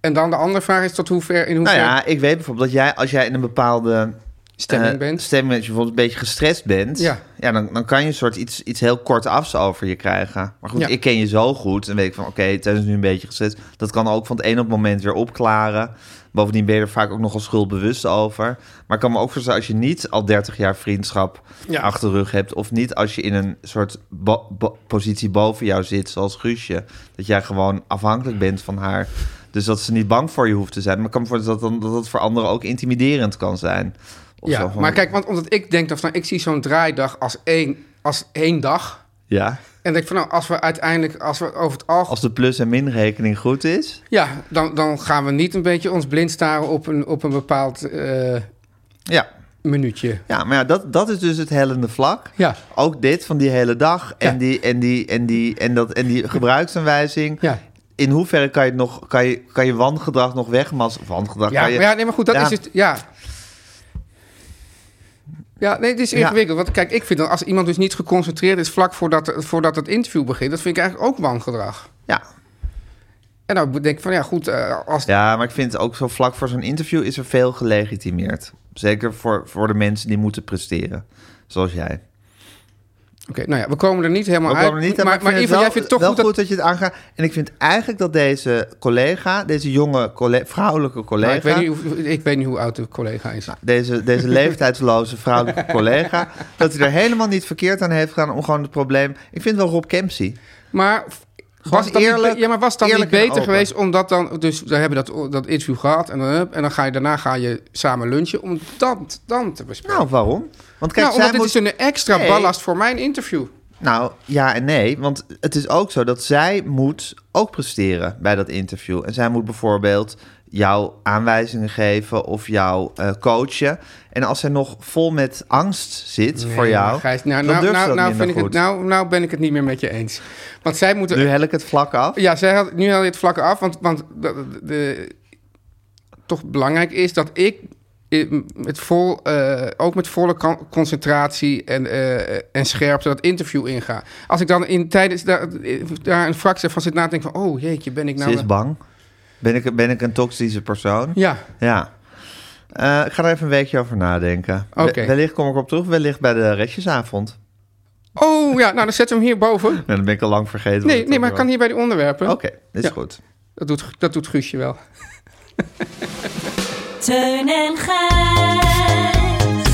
S2: En dan de andere vraag is tot hoever, in
S1: Nou
S2: hoeverre
S1: ja, ik weet bijvoorbeeld dat jij, als jij in een bepaalde...
S2: stemming
S1: eh,
S2: bent.
S1: Stemming, als je bijvoorbeeld een beetje gestrest bent...
S2: Ja.
S1: dan, dan kan je een soort iets, iets heel kort afs over je krijgen. Maar goed,
S2: Ja.
S1: ik ken je zo goed... en weet ik van, oké, het is nu een beetje gestrest. Dat kan ook van het een op het moment weer opklaren. Bovendien ben je er vaak ook nogal schuldbewust over. Maar ik kan me ook voorstellen... als je niet al 30 jaar vriendschap
S2: Ja.
S1: achter de rug hebt... of niet als je in een soort bo- bo- positie boven jou zit, zoals Guusje... dat jij gewoon
S2: Mm.
S1: afhankelijk bent van haar... Dus dat ze niet bang voor je hoeft te zijn. Maar ik kan me voorstellen dat, dan, dat dat voor anderen ook intimiderend kan zijn. Of
S2: Ja,
S1: zo van-
S2: maar kijk, want omdat ik denk dat van, ik zie zo'n draaidag als één, als één dag.
S1: Ja,
S2: En denk van, nou, als we uiteindelijk, als we over het algemeen...
S1: als de plus- en minrekening goed is.
S2: Ja, dan, dan gaan we niet een beetje ons blind staren op een, op een bepaald eh,
S1: Ja,
S2: minuutje.
S1: ja maar ja, dat, dat is dus het hellende vlak.
S2: Ja.
S1: Ook dit van die hele dag en,
S2: Ja.
S1: die, en, die, en, die, en, dat, en die gebruiksaanwijzing.
S2: Ja.
S1: In hoeverre kan je, het nog, kan je, kan je wangedrag nog wegmassen? Wangedrag
S2: Ja,
S1: kan je...
S2: maar ja, nee, maar goed, dat
S1: Ja.
S2: is het. Ja. Ja, nee, het is ingewikkeld. Want kijk, ik vind dan als iemand dus niet geconcentreerd is vlak voordat, voordat het interview begint, dat vind ik eigenlijk ook wangedrag.
S1: ja.
S2: En dan denk ik van, ja, goed, eh, als.
S1: Ja, maar ik vind het ook zo vlak voor zo'n interview is er veel gelegitimeerd. Zeker voor, voor de mensen die moeten presteren, zoals jij.
S2: Oké, nou ja, we komen er niet helemaal
S1: We
S2: uit.
S1: komen er niet aan,
S2: maar maar,
S1: ik
S2: Ivan, jij
S1: het
S2: vindt toch
S1: wel
S2: goed dat.
S1: je het aangaat. En ik vind eigenlijk dat deze collega, deze jonge colle- vrouwelijke collega...
S2: Nou, ik, weet niet hoe, ik weet niet hoe oud de collega is.
S1: Nou, deze, deze leeftijdsloze vrouwelijke collega... dat hij er helemaal niet verkeerd aan heeft gedaan om gewoon het probleem... Ik vind wel Rob Kemsy.
S2: Maar was het dan
S1: eerlijk-
S2: niet, be- ja, maar was het dan niet
S1: eerlijk en
S2: beter
S1: open.
S2: geweest omdat dan... Dus we hebben dat, dat interview gehad en dan, hup, en dan ga je, daarna ga je samen lunchen om dat dan te bespreken.
S1: Nou, waarom? Want kijk,
S2: nou,
S1: zij
S2: omdat dit
S1: moet...
S2: is een extra
S1: Nee.
S2: ballast voor mijn interview.
S1: Nou, ja en nee. Want het is ook zo dat zij moet ook presteren bij dat interview. En zij moet bijvoorbeeld jou aanwijzingen geven of jou eh, coachen. En als zij nog vol met angst zit voor jou,
S2: Gijs, nou,
S1: dan
S2: nou,
S1: durft ze
S2: nou,
S1: dat
S2: nou
S1: niet
S2: vind
S1: meer
S2: ik het, eh,
S1: goed.
S2: nou, nou ben ik het niet meer met je eens. Want zij moeten...
S1: Nu hel ik het vlak af.
S2: Ja, zij had, nu haal je het vlak af, want, want de, de- de- toch belangrijk is dat ik eh, met vol, eh, ook met volle kan- concentratie en, eh, en scherpte dat interview inga. Als ik dan in, tijdens daar, daar een fractie van zit na te denken van, oh jeetje, ben ik nou...
S1: Ze is
S2: wel-
S1: bang. Ben ik, ben ik een toxische persoon?
S2: Ja,
S1: Ja. Eh, ik ga er even een weekje over nadenken.
S2: Oké.
S1: We- Wellicht kom ik op terug, wellicht bij de restjesavond.
S2: oh ja, nou dan zetten we hem hierboven.
S1: Nou, dan ben ik al lang vergeten. wat
S2: Nee,
S1: het
S2: nee, maar
S1: ook
S2: ik kan
S1: was.
S2: hier bij die onderwerpen.
S1: Oké, is
S2: Ja.
S1: goed.
S2: Dat, doet, dat doet Guusje wel.
S4: Teun en Gijs.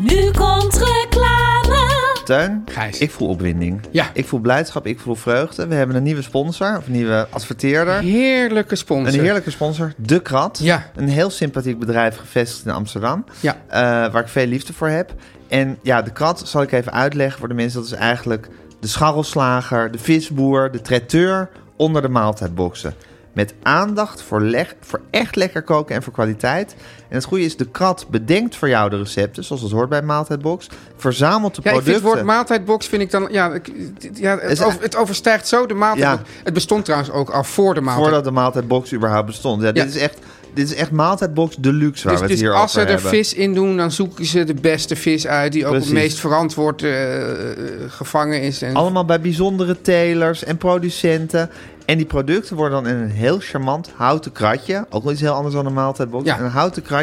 S4: Nu komt reclame.
S1: Tuin,
S2: Gijs.
S1: ik voel opwinding.
S2: Ja.
S1: Ik voel blijdschap, ik voel vreugde. We hebben een nieuwe sponsor, of een nieuwe adverteerder.
S2: Heerlijke sponsor.
S1: Een heerlijke sponsor, De Krat.
S2: Dus, eh, Ja.
S1: Een heel sympathiek bedrijf gevestigd in Amsterdam.
S2: Ja.
S1: Eh, waar ik veel liefde voor heb. En ja, De Krat zal ik even uitleggen voor de mensen. Dat is eigenlijk de scharrelslager, de visboer, de traiteur onder de maaltijdboxen. Met aandacht voor, leg- voor echt lekker koken en voor kwaliteit. En het goede is, de krat bedenkt voor jou de recepten, zoals het hoort bij Maaltijdbox. Verzamelt de
S2: Ja, ik
S1: producten.
S2: vind het woord maaltijdbox vind ik dan... Ja, ik- ja
S1: Is-
S2: het, over- het overstijgt zo de maaltijdbox. Het bestond trouwens ook al voor de maaltijd.
S1: Voordat de maaltijdbox überhaupt bestond. Ja, Dit,
S2: Ja.
S1: is echt, dit is echt maaltijdbox deluxe waar
S2: Dus,
S1: Nou, we het
S2: dus
S1: hier
S2: als ze
S1: over
S2: er
S1: hebben.
S2: vis in doen, dan zoeken ze de beste vis uit... die ook
S1: Precies.
S2: het meest verantwoord eh, eh, gevangen is. En
S1: Allemaal bij bijzondere telers en producenten. En die producten worden dan in een heel charmant houten kratje... ook wel iets heel anders dan een maaltijdbox...
S2: Ja.
S1: een houten kratje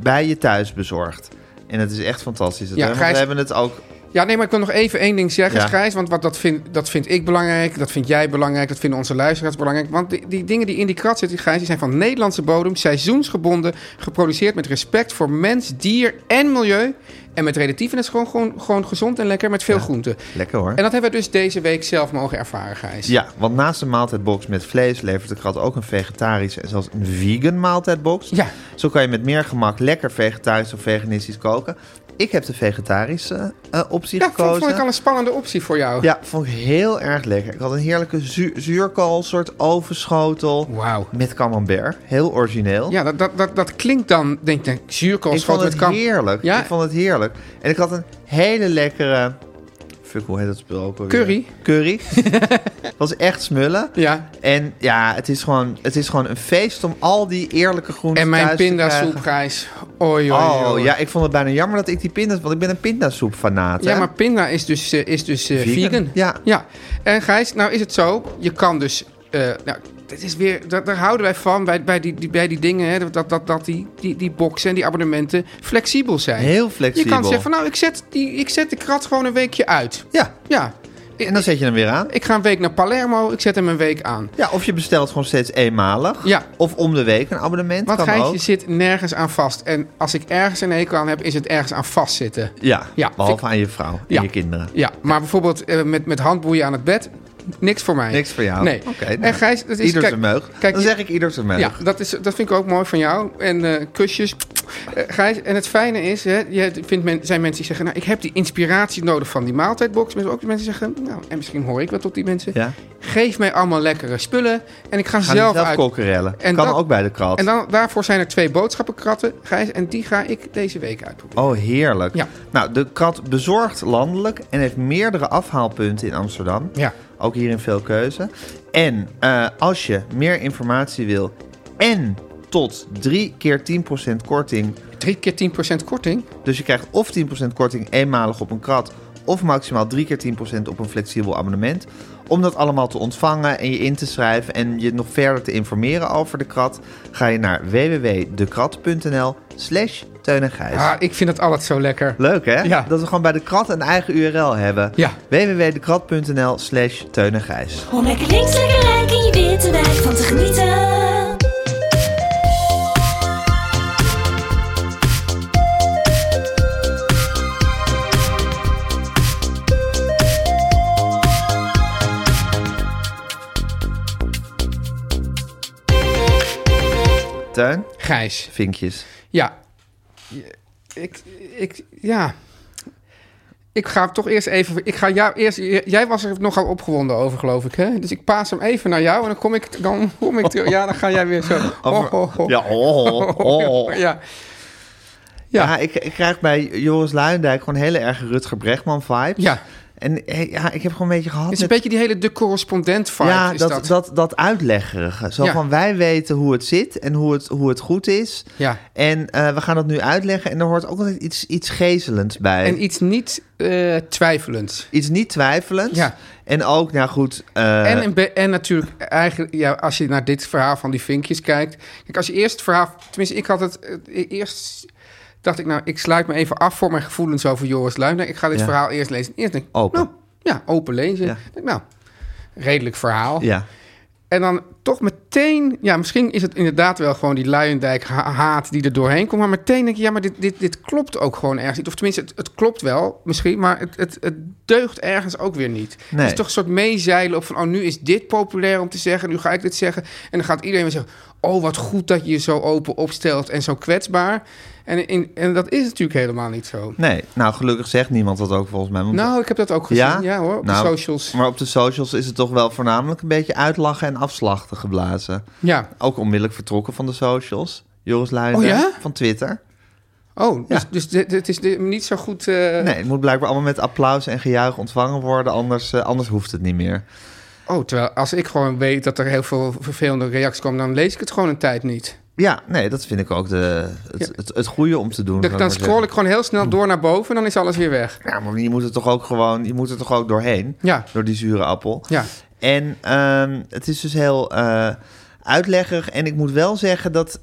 S1: bij je thuis bezorgd. En het is echt fantastisch. Dat
S2: Ja,
S1: hebben- we,
S2: Gijs-
S1: hebben het ook...
S2: Ja, nee, maar ik wil nog even één ding zeggen,
S1: Ja.
S2: Gijs. Want wat, dat, vind, dat vind ik belangrijk, dat vind jij belangrijk... dat vinden onze luisteraars belangrijk. Want die, die dingen die in die krat zitten, Gijs... die zijn van Nederlandse bodem, seizoensgebonden... geproduceerd met respect voor mens, dier en milieu... en met relatief. En het is gewoon, gewoon, gewoon gezond en lekker met veel groenten.
S1: Lekker hoor.
S2: En dat hebben we dus deze week zelf mogen ervaren, Gijs.
S1: Ja, want naast de maaltijdbox met vlees levert de krat ook een vegetarische en zelfs een vegan maaltijdbox.
S2: Ja.
S1: Zo kan je met meer gemak lekker vegetarisch of veganistisch koken. Ik heb de vegetarische eh, optie
S2: Ja, vond-
S1: gekozen.
S2: vond, ik al een spannende optie voor jou.
S1: Ja, vond ik heel erg lekker. Ik had een heerlijke zu zuurkool, soort ovenschotel.
S2: Wauw.
S1: Met camembert. Heel origineel.
S2: Ja, dat, dat, dat, dat klinkt dan, denk ik, zuurkool,
S1: ik vond
S2: schoot met
S1: het
S2: kam.
S1: heerlijk.
S2: Ja.
S1: Ik vond het heerlijk. En ik had een hele lekkere... Fuck, hoe heet dat spul ook alweer?
S2: Curry.
S1: Curry. was echt smullen.
S2: Ja,
S1: En ja, het is, gewoon, het is gewoon een feest om al die eerlijke groenten
S2: en mijn
S1: thuis te krijgen.
S2: pindasoep, Gijs. Oei, oei,
S1: Oh,
S2: oei.
S1: ja, ik vond het bijna jammer dat ik die pindas... Want ik ben een pindasoep fanaat,
S2: Ja, maar pinda is dus, eh, is dus eh,
S1: Vegan.
S2: vegan.
S1: Ja.
S2: ja. En Gijs, nou is het zo. Je kan dus... eh nou, dit is weer, daar, daar houden wij van, bij, bij, die, die, bij die dingen, hè, dat, dat, dat die, die, die boxen en die abonnementen flexibel zijn.
S1: Heel flexibel.
S2: Je kan zeggen van, nou, ik zet, die, ik zet de krat gewoon een weekje uit.
S1: Ja,
S2: Ja.
S1: en dan zet je hem weer aan.
S2: Ik ga een week naar Palermo, ik zet hem een week aan.
S1: Ja, of je bestelt gewoon steeds eenmalig.
S2: Ja.
S1: Of om de week een abonnement.
S2: Want
S1: kan
S2: Gijs,
S1: ook.
S2: je zit nergens aan vast. En als ik ergens een hekel aan heb, is het ergens aan vastzitten.
S1: Ja,
S2: Ja,
S1: behalve
S2: vind
S1: aan je vrouw en
S2: Ja.
S1: je kinderen.
S2: Ja, maar bijvoorbeeld eh, met, met handboeien aan het bed, niks voor mij.
S1: Niks voor jou.
S2: Nee.
S1: Oké. nou,
S2: en Gijs, dat is...
S1: Ieder
S2: kijk-
S1: zijn meug.
S2: kijk,
S1: Dan
S2: je-
S1: zeg ik ieder zijn meug.
S2: Ja, dat, is, dat vind ik ook mooi van jou. En eh, kusjes. Eh, Gijs, en het fijne is, hè, je vindt men, zijn mensen die zeggen... nou, ik heb die inspiratie nodig van die maaltijdbox. Maar er zijn ook mensen die zeggen, nou, en misschien hoor ik wel tot die mensen...
S1: Ja.
S2: geef mij allemaal lekkere spullen en ik ga
S1: Gaan
S2: zelf,
S1: zelf
S2: uit...
S1: kokerellen.
S2: En
S1: kan
S2: dat-
S1: ook bij de krat.
S2: En dan, daarvoor zijn er twee boodschappenkratten, Gijs. En die ga ik deze week uitproberen.
S1: Oh, heerlijk.
S2: Ja.
S1: Nou, de krat bezorgt landelijk en heeft meerdere afhaalpunten in Amsterdam.
S2: Ja.
S1: Ook hierin veel keuze. En eh, als je meer informatie wil en tot 3 keer 10% korting
S2: Drie keer 10% korting.
S1: Dus je krijgt of 10% korting eenmalig op een krat... of maximaal 3 keer 10% op een flexibel abonnement. Om dat allemaal te ontvangen en je in te schrijven... en je nog verder te informeren over de krat... ga je naar www.dekrat.nl slash Teun en Gijs.
S2: Ah, ik vind het altijd zo lekker.
S1: Leuk hè?
S2: Ja.
S1: Dat we gewoon bij de krat een eigen URL hebben.
S2: Ja.
S1: www.dekrat.nl slash Teun en Gijs.
S4: Om lekker links, lekker rijk in je witte wijk van te genieten.
S1: Teun,
S2: Gijs.
S1: vinkjes.
S2: Ja. Ik, ik, ja. Ik ga hem toch eerst even. Ik ga jou eerst. Jij was er nogal opgewonden over, geloof ik. Hè? Dus ik paas hem even naar jou en dan kom ik. Dan kom ik terug. Ja, dan ga jij weer zo.
S1: Over-
S2: Ho, ho, ho.
S1: Ja, oh, oh.
S2: Ja.
S1: Ja,
S2: Ja.
S1: ik, ik krijg bij Joris Luijendijk gewoon hele erg Rutger Bregman vibes.
S2: Ja.
S1: En eh, ja, ik heb gewoon een beetje gehad
S2: Het is
S1: met-
S2: een beetje die hele de correspondent vibe.
S1: Ja,
S2: is
S1: dat,
S2: dat.
S1: dat. Dat, uitleggerige. Zo
S2: Ja.
S1: van wij weten hoe het zit en hoe het, hoe het goed is.
S2: Ja.
S1: En eh, we gaan dat nu uitleggen. En er hoort ook altijd iets, iets gezelends bij.
S2: En iets niet eh, twijfelends.
S1: iets niet twijfelends.
S2: Ja.
S1: En ook, nou goed. eh,
S2: En, een be- en natuurlijk, eigenlijk, ja, als je naar dit verhaal van die vinkjes kijkt. Kijk, als je eerst het verhaal. Tenminste, ik had het. eh, e- eerst dacht ik, nou, ik sluit me even af voor mijn gevoelens over Joris Luijndijk. Ik ga dit
S1: Ja.
S2: verhaal eerst lezen. Eerst denk ik,
S1: Open.
S2: nou, ja, open lezen.
S1: Ja.
S2: Denk, nou, redelijk verhaal.
S1: ja.
S2: En dan toch meteen, ja, misschien is het inderdaad wel gewoon die Luijendijk ha- haat die er doorheen komt. Maar meteen denk je, ja, maar dit, dit, dit klopt ook gewoon ergens niet. Of tenminste, het, het klopt wel misschien, maar het, het, het deugt ergens ook weer niet.
S1: Nee.
S2: Het is toch een soort meezeilen op van, oh, nu is dit populair om te zeggen, nu ga ik dit zeggen. En dan gaat iedereen weer zeggen, oh wat goed dat je je zo open opstelt en zo kwetsbaar. En, in, en dat is natuurlijk helemaal niet zo.
S1: Nee, nou gelukkig zegt niemand dat ook volgens mij. want-
S2: Nou, ik heb dat ook gezien. Ja, hoor, op
S1: Nou,
S2: de socials.
S1: Maar op de socials is het toch wel voornamelijk een beetje uitlachen en afslachten geblazen.
S2: Ja.
S1: Ook onmiddellijk vertrokken van de socials. Joris Luijender
S2: Oh ja?
S1: van Twitter.
S2: Oh, dus,
S1: Ja.
S2: dus dit, dit is dit- niet zo goed... eh,
S1: Nee, het moet blijkbaar allemaal met applaus en gejuich ontvangen worden, anders, eh, anders hoeft het niet meer.
S2: Oh, terwijl als ik gewoon weet dat er heel veel vervelende reacties komen... dan lees ik het gewoon een tijd niet.
S1: Ja, nee, dat vind ik ook de, het,
S2: Ja.
S1: het, het goede om te doen.
S2: Dan,
S1: zou
S2: dan
S1: maar Hm.
S2: scroll ik gewoon heel snel door naar boven en dan is alles weer weg.
S1: zeggen. Ja, maar je moet er toch ook gewoon, je moet er toch ook doorheen,
S2: Ja,
S1: door die zure appel.
S2: ja.
S1: En ehm, het is dus heel eh uitleggerig. En ik moet wel zeggen dat,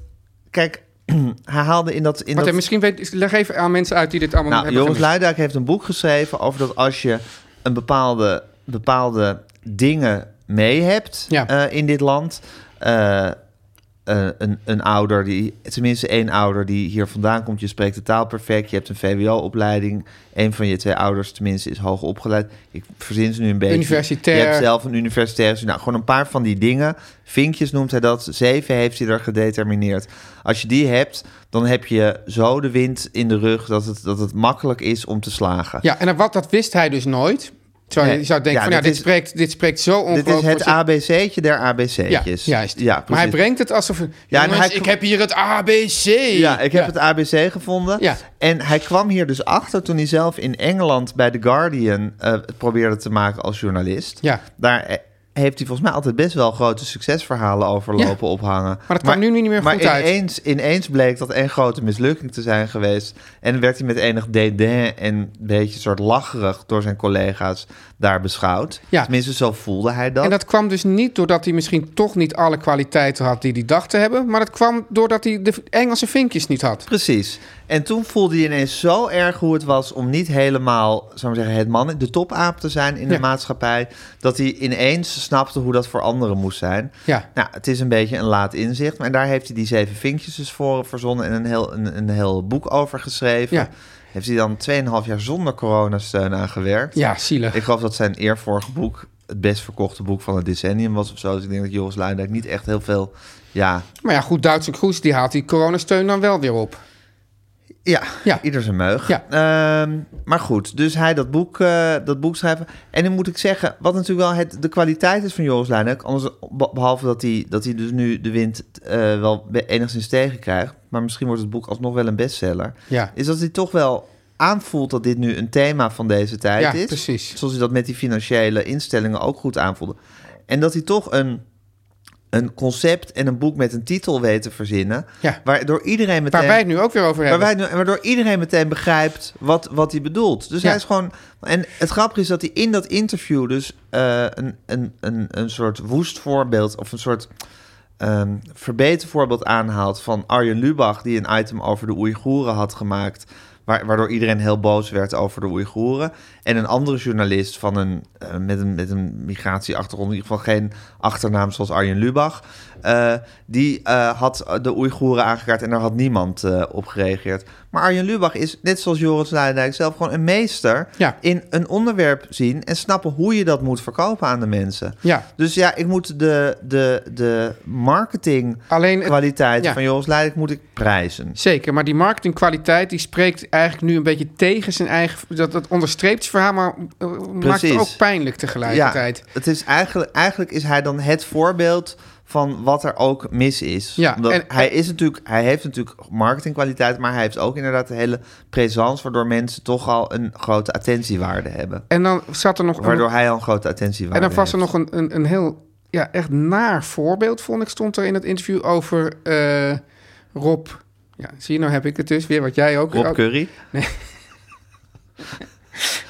S1: kijk, hij haalde in dat... In
S2: Wat,
S1: dat...
S2: misschien weet, leg even aan mensen uit die dit allemaal
S1: Nou,
S2: hebben
S1: Joris
S2: gemist.
S1: Luijendijk heeft een boek geschreven over dat als je een bepaalde, bepaalde dingen mee hebt
S2: Ja.
S1: eh, in dit land. eh, eh, een, een ouder die, tenminste één ouder die hier vandaan komt, je spreekt de taal perfect, je hebt een VWO-opleiding, een van je twee ouders tenminste is hoog opgeleid. Ik verzin ze nu een beetje.
S2: Universitair.
S1: Je hebt zelf een universitair, nou gewoon een paar van die dingen. Vinkjes noemt hij dat, zeven heeft hij er gedetermineerd. Als je die hebt, dan heb je zo de wind in de rug dat het, dat het makkelijk is om te slagen.
S2: Ja, en wat, dat wist hij dus nooit. Terwijl
S1: Nee.
S2: je zou denken
S1: Ja,
S2: van ja,
S1: dit
S2: dit,
S1: is-
S2: spreekt, dit spreekt zo
S1: Dit
S2: ongelooflijk...
S1: is het
S2: voor zich-
S1: ABC'tje der ABC'tjes.
S2: Ja, juist.
S1: Ja, precies.
S2: maar hij brengt het alsof...
S1: en
S2: jongens,
S1: hij-
S2: ik heb hier het ABC.
S1: Ja, ik heb het ABC gevonden.
S2: Ja.
S1: En hij kwam hier dus achter toen hij zelf in Engeland bij The Guardian eh, het probeerde te maken als journalist.
S2: Ja.
S1: Daar eh, heeft hij volgens mij altijd best wel grote succesverhalen over
S2: Ja.
S1: lopen ophangen.
S2: dat kwam nu niet meer
S1: maar
S2: goed uit.
S1: ineens, ineens bleek dat één grote mislukking te zijn geweest. En werd hij met enig dédain en een beetje soort lacherig door zijn collega's daar beschouwd.
S2: Ja.
S1: Tenminste, zo voelde hij dat.
S2: En dat kwam dus niet doordat hij misschien toch niet alle kwaliteiten had die hij dacht te hebben. Maar dat kwam doordat hij de Engelse vinkjes niet had.
S1: Precies. En toen voelde je ineens zo erg hoe het was om niet helemaal, zou ik maar zeggen, het man, de topaap te zijn in de
S2: Ja.
S1: maatschappij, dat hij ineens snapte hoe dat voor anderen moest zijn.
S2: Ja.
S1: Nou, het is een beetje een laat inzicht, maar daar heeft hij die zeven vinkjes dus voor verzonnen en een heel, een, een heel boek over geschreven.
S2: Ja.
S1: Heeft hij dan 2,5 jaar zonder coronasteun aan gewerkt.
S2: Ja, zielig.
S1: Ik geloof dat zijn eervorige boek het best verkochte boek van het decennium was of zo. Dus ik denk dat Joris Luijendijk niet echt heel veel, ja,
S2: Maar ja, goed, Duitse Kroes die haalt die coronasteun dan wel weer op.
S1: Ja,
S2: Ja.
S1: ieder zijn meug.
S2: Ja.
S1: Ehm, maar goed, dus hij dat boek, eh, dat boek schrijven. En dan moet ik zeggen, wat natuurlijk wel het, de kwaliteit is van Joris Luijendijk... Anders, be- behalve dat hij, dat hij dus nu de wind eh, wel be- enigszins tegenkrijgt... maar misschien wordt het boek alsnog wel een bestseller...
S2: Ja.
S1: is dat hij toch wel aanvoelt dat dit nu een thema van deze tijd
S2: Ja,
S1: is.
S2: precies.
S1: Zoals hij dat met die financiële instellingen ook goed aanvoelde. En dat hij toch een... Een concept en een boek met een titel weet te verzinnen.
S2: Ja.
S1: Waardoor iedereen meteen.
S2: Waar wij het nu ook weer over hebben.
S1: Waar wij, en waardoor iedereen meteen begrijpt wat, wat hij bedoelt. Dus
S2: Ja.
S1: hij is gewoon. En het grappige is dat hij in dat interview dus eh, een, een, een, een soort woest voorbeeld of een soort ehm verbeter voorbeeld aanhaalt van Arjen Lubach, die een item over de Oeigoeren had gemaakt. waar- Waardoor iedereen heel boos werd over de Oeigoeren. En een andere journalist van een, eh, met, een, met een migratieachtergrond, in ieder geval geen achternaam zoals Arjen Lubach. eh, die eh, had de Oeigoeren aangekaart en daar had niemand eh, op gereageerd. Maar Arjen Lubach is, net zoals Joris Luijendijk zelf, gewoon een meester
S2: Ja.
S1: in een onderwerp zien en snappen hoe je dat moet verkopen aan de mensen.
S2: Ja.
S1: Dus ja, ik moet de, de, de
S2: Alleen het-
S1: marketingkwaliteit
S2: ja.
S1: van Joris Leidek moet ik prijzen.
S2: Zeker, maar die marketingkwaliteit die spreekt eigenlijk nu een beetje tegen zijn eigen... Dat, dat onderstreept het verhaal, maar eh, maakt het
S1: Precies.
S2: ook pijnlijk tegelijkertijd.
S1: Ja, het is eigenlijk, eigenlijk is hij dan het voorbeeld van wat er ook mis is.
S2: Ja,
S1: Omdat
S2: en-
S1: hij, is natuurlijk, hij heeft natuurlijk marketingkwaliteit, maar hij heeft ook inderdaad de hele présence... waardoor mensen toch al een grote attentiewaarde hebben.
S2: En dan zat er nog... een-
S1: Waardoor hij al een grote attentiewaarde
S2: En dan was er
S1: heeft.
S2: nog een, een, een heel ja, echt naar voorbeeld, vond ik, stond er in het interview over eh, Rob. Ja, zie je, nou heb ik het dus weer, wat jij ook.
S1: Rob
S2: ook-
S1: Curry.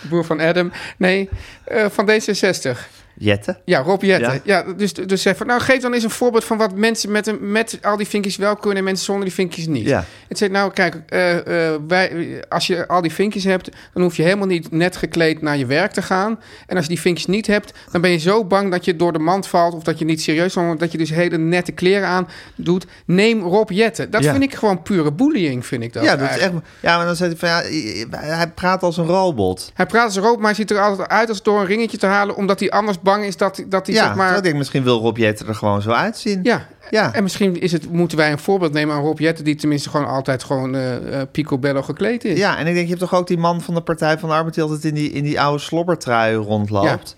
S2: broer van Adam. Nee, eh, van D66.
S1: Jette.
S2: Ja, Rob Jette.
S1: Ja.
S2: Ja, dus, dus zeg van, nou geef dan eens een voorbeeld van wat mensen met, een, met al die vinkjes wel kunnen en mensen zonder die vinkjes niet.
S1: Ja.
S2: Het zegt, nou kijk, eh, eh, wij, als je al die vinkjes hebt, dan hoef je helemaal niet net gekleed naar je werk te gaan. En als je die vinkjes niet hebt, dan ben je zo bang dat je door de mand valt of dat je niet serieus wordt, dat je dus hele nette kleren aan doet. Neem Rob Jette. Dat
S1: Ja.
S2: vind ik gewoon pure bullying, vind ik dat.
S1: Ja, dat is
S2: eigenlijk.
S1: echt... Ja, maar dan zegt hij van... Ja, hij praat als een robot.
S2: Hij praat als een rood, maar hij ziet er altijd uit als door een ringetje te halen... omdat hij anders bang is dat, dat hij
S1: ja,
S2: zeg maar...
S1: ik denk misschien wil Rob Jetten er gewoon zo uitzien.
S2: Ja.
S1: Ja.
S2: en misschien is het, moeten wij een voorbeeld nemen aan Rob Jetten... die tenminste gewoon altijd gewoon eh eh, picobello gekleed is.
S1: Ja, en ik denk, je hebt toch ook die man van de Partij van de Arbeid... die altijd in die, in die oude slobbertrui rondloopt.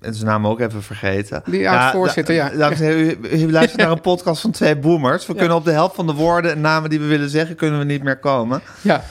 S1: En zijn naam ook even vergeten.
S2: Die oude voorzitter, ja.
S1: dames en heren, u, u luistert naar een podcast van twee boomers. We kunnen op de helft van de woorden en namen die we willen zeggen... kunnen we niet meer komen.
S2: Ja.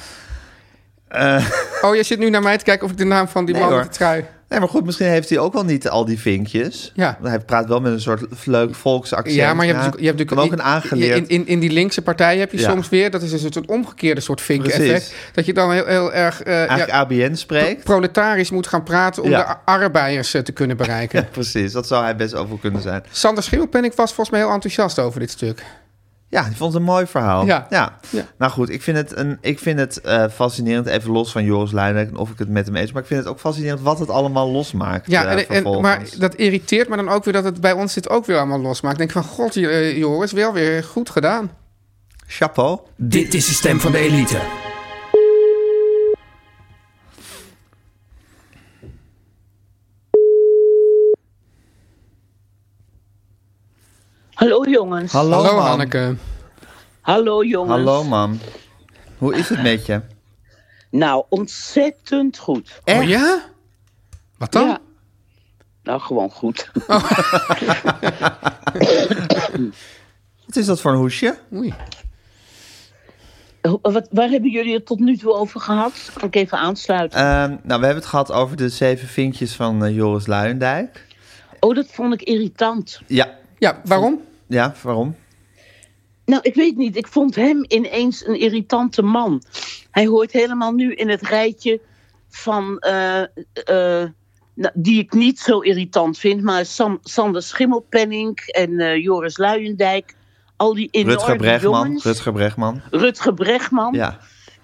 S2: Oh, je zit nu naar mij te kijken of ik de naam van die
S1: Nee,
S2: man met
S1: hoor.
S2: de trui...
S1: Nee, maar goed, misschien heeft hij ook wel niet al die vinkjes.
S2: Ja.
S1: Hij praat wel met een soort leuk volksaccent.
S2: Ja, maar je hebt, natuurlijk- je hebt
S1: kan ook
S2: natuurlijk
S1: een aangeleerd.
S2: In, in, in die linkse partij heb je
S1: Ja.
S2: soms weer, dat is dus een soort omgekeerde soort vink-effect.
S1: Precies.
S2: Dat je dan heel, heel erg eh, ja,
S1: Eigenlijk ABN spreekt.
S2: proletarisch moet gaan praten om
S1: Ja.
S2: de a- arbeiders eh, te kunnen bereiken.
S1: Ja, precies, dat zou hij best over kunnen zijn.
S2: Sander Schimmelpenninck was volgens mij heel enthousiast over dit stuk.
S1: Ja, ik vond het een mooi verhaal.
S2: Ja.
S1: ja.
S2: Ja.
S1: Nou goed, ik vind het, een, ik vind het eh, fascinerend, even los van Joris Luijendijk en of ik het met hem eens, maar ik vind het ook fascinerend wat het allemaal losmaakt.
S2: Ja,
S1: eh,
S2: en, en,
S1: vervolgens.
S2: maar dat irriteert me dan ook weer dat het bij ons dit ook weer allemaal losmaakt. Ik denk van, god eh, Joris, wel weer goed gedaan.
S1: Chapeau.
S3: Dit is de stem van de elite.
S5: Hallo jongens.
S1: Hallo,
S2: Hallo
S1: mam.
S2: Hanneke.
S5: Hallo, jongens.
S1: Hallo, mam. Hoe is het met je?
S5: Nou, ontzettend goed.
S1: Echt?
S2: Oh ja? Wat dan?
S5: Ja. Nou, gewoon goed.
S1: Wat is dat voor een hoesje?
S2: Oei.
S5: Ho- Wat, waar hebben jullie het tot nu toe over gehad? Kan ik even aansluiten?
S1: Ehm, nou, we hebben het gehad over de zeven vinkjes van eh, Joris Luijendijk.
S5: Oh, dat vond ik irritant.
S1: Ja.
S2: Ja, waarom?
S1: Ja, waarom?
S5: Nou, ik weet niet. Ik vond hem ineens een irritante man. Hij hoort helemaal nu in het rijtje van. eh, eh, nou, die ik niet zo irritant vind, maar Sam, Sander Schimmelpenning en eh, Joris Luijendijk. Al die enorme
S1: Rutger Bregman.
S5: jongens.
S1: Rutger Bregman.
S5: Rutger Bregman.
S1: Ja.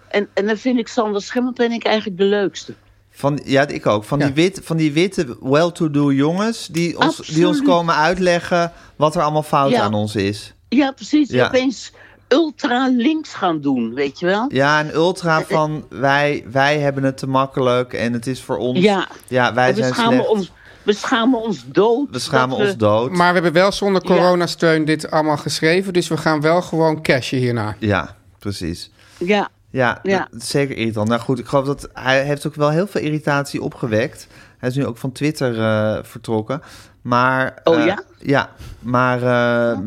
S5: En, en dan vind ik Sander Schimmelpenning eigenlijk de leukste.
S1: Van, ja, ik ook. Van,
S2: Ja.
S1: die, wit, van die witte well-to-do jongens die ons, die ons
S5: Absoluut.
S1: komen uitleggen wat er allemaal fout
S5: Ja.
S1: aan ons is.
S5: Ja, precies.
S1: Ja.
S5: Opeens ultra links gaan doen, weet je wel?
S1: Ja, en
S5: Eh,
S1: ultra van wij, wij hebben het te makkelijk en het is voor ons.
S5: Ja.
S1: ja wij
S5: we,
S1: zijn
S5: schamen
S1: slecht.
S5: ons, we schamen ons dood.
S1: we schamen
S5: dat
S1: ons dood.
S2: Maar we hebben wel zonder coronasteun dit allemaal geschreven. Dus we gaan wel gewoon cashen hierna.
S1: Ja, precies.
S5: Ja,
S1: Ja,
S5: Ja.
S1: dat- dat is zeker irritant. Nou goed, ik geloof dat hij heeft ook wel heel veel irritatie opgewekt. Hij is nu ook van Twitter eh, vertrokken. Maar,
S5: Oh
S1: eh,
S5: ja?
S1: Ja, maar eh,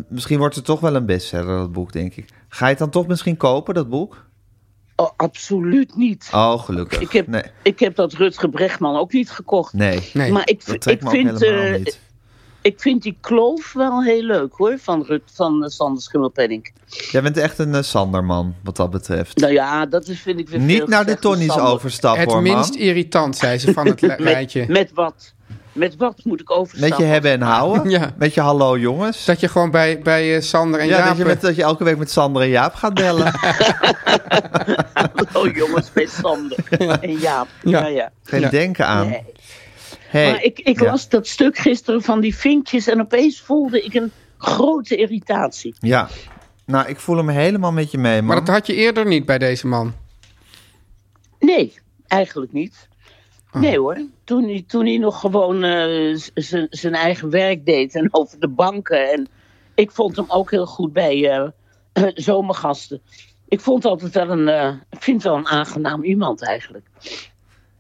S1: misschien wordt het toch wel een bestseller, dat boek, denk ik. Ga je het dan toch misschien kopen, dat boek?
S5: oh, absoluut niet.
S1: Oh, gelukkig.
S5: ik, heb,
S1: Nee,
S5: ik heb dat Rutger Bregman ook niet gekocht.
S1: nee.
S2: Nee.
S5: Maar ik,
S1: dat
S5: v-
S1: trekt
S5: ik,
S1: me ook
S5: vind,
S1: helemaal
S5: eh,
S1: niet.
S5: ik vind die kloof wel heel leuk hoor, van, Rut, van eh, Sander Schimmelpenning.
S1: Jij bent echt een eh, Sanderman, wat dat betreft.
S5: Nou ja, dat is, vind ik weer
S1: niet
S5: veel
S1: naar de
S5: gezegd van
S1: Tonnies
S5: Sander.
S1: overstappen,
S2: het
S1: hoor,
S2: minst
S1: man.
S2: irritant, zei ze van het li- rijtje.
S5: Met, met wat? Met wat moet ik overstappen?
S1: Met je hebben en houden.
S2: Ja.
S1: Met je hallo, jongens.
S2: Dat je gewoon bij, bij eh, Sander en
S1: ja,
S2: Jaap...
S1: dat, je met, dat je elke week met Sander en Jaap gaat bellen.
S5: Oh jongens, met Sander en Jaap.
S2: Ja.
S5: ja. ja.
S1: Geen
S2: Ja.
S1: denken aan.
S5: Nee.
S1: Hey.
S5: Maar ik, ik
S1: Ja.
S5: las dat stuk gisteren van die vinkjes en opeens voelde ik een grote irritatie.
S1: Ja. Nou, ik voel hem helemaal met je mee, man.
S2: Maar dat had je eerder niet bij deze man.
S5: Nee, eigenlijk niet.
S2: Ah.
S5: Nee hoor, toen hij, toen hij nog gewoon eh, z- z- zijn eigen werk deed en over de banken. En ik vond hem ook heel goed bij eh, zomergasten. Ik vond altijd wel een, eh, ik vind wel een aangenaam iemand eigenlijk.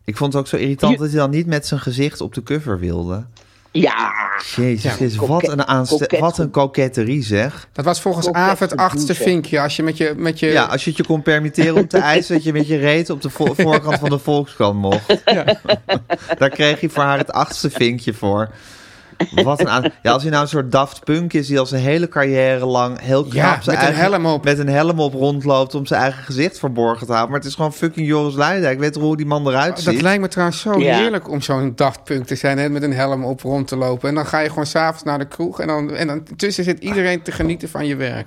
S1: Ik vond het ook zo irritant
S5: Je-
S1: dat hij dan niet met zijn gezicht op de cover wilde.
S5: Ja,
S1: Jezus, Christus,
S5: koket-
S1: wat, een aanste-
S5: koket-
S1: wat een koketterie zeg.
S2: Dat was volgens
S5: Ook
S2: Aaf
S5: echt
S2: het
S5: een
S2: achtste
S5: douche, hè?
S2: vinkje. Als je met je... Met je
S1: Ja, als je het je kon permitteren om te eisen dat je met je reet op de vo- voorkant van de Volkskrant mocht. Daar kreeg hij voor haar het achtste vinkje voor. Wat een aan... Ja, als hij nou een soort Daft Punk is die al zijn hele carrière lang heel knap
S2: Ja,
S1: zijn
S2: met een
S1: eigen-
S2: helm op.
S1: met een helm op rondloopt om zijn eigen gezicht verborgen te houden. Maar het is gewoon fucking Joris Luijendijk. Ik weet toch hoe die man eruit ziet?
S2: Oh, Dat lijkt me trouwens zo
S5: Ja.
S2: heerlijk om zo'n daftpunk te zijn. Hè, met een helm op rond te lopen. En dan ga je gewoon s'avonds naar de kroeg. En dan, en dan tussen zit iedereen te genieten van je werk.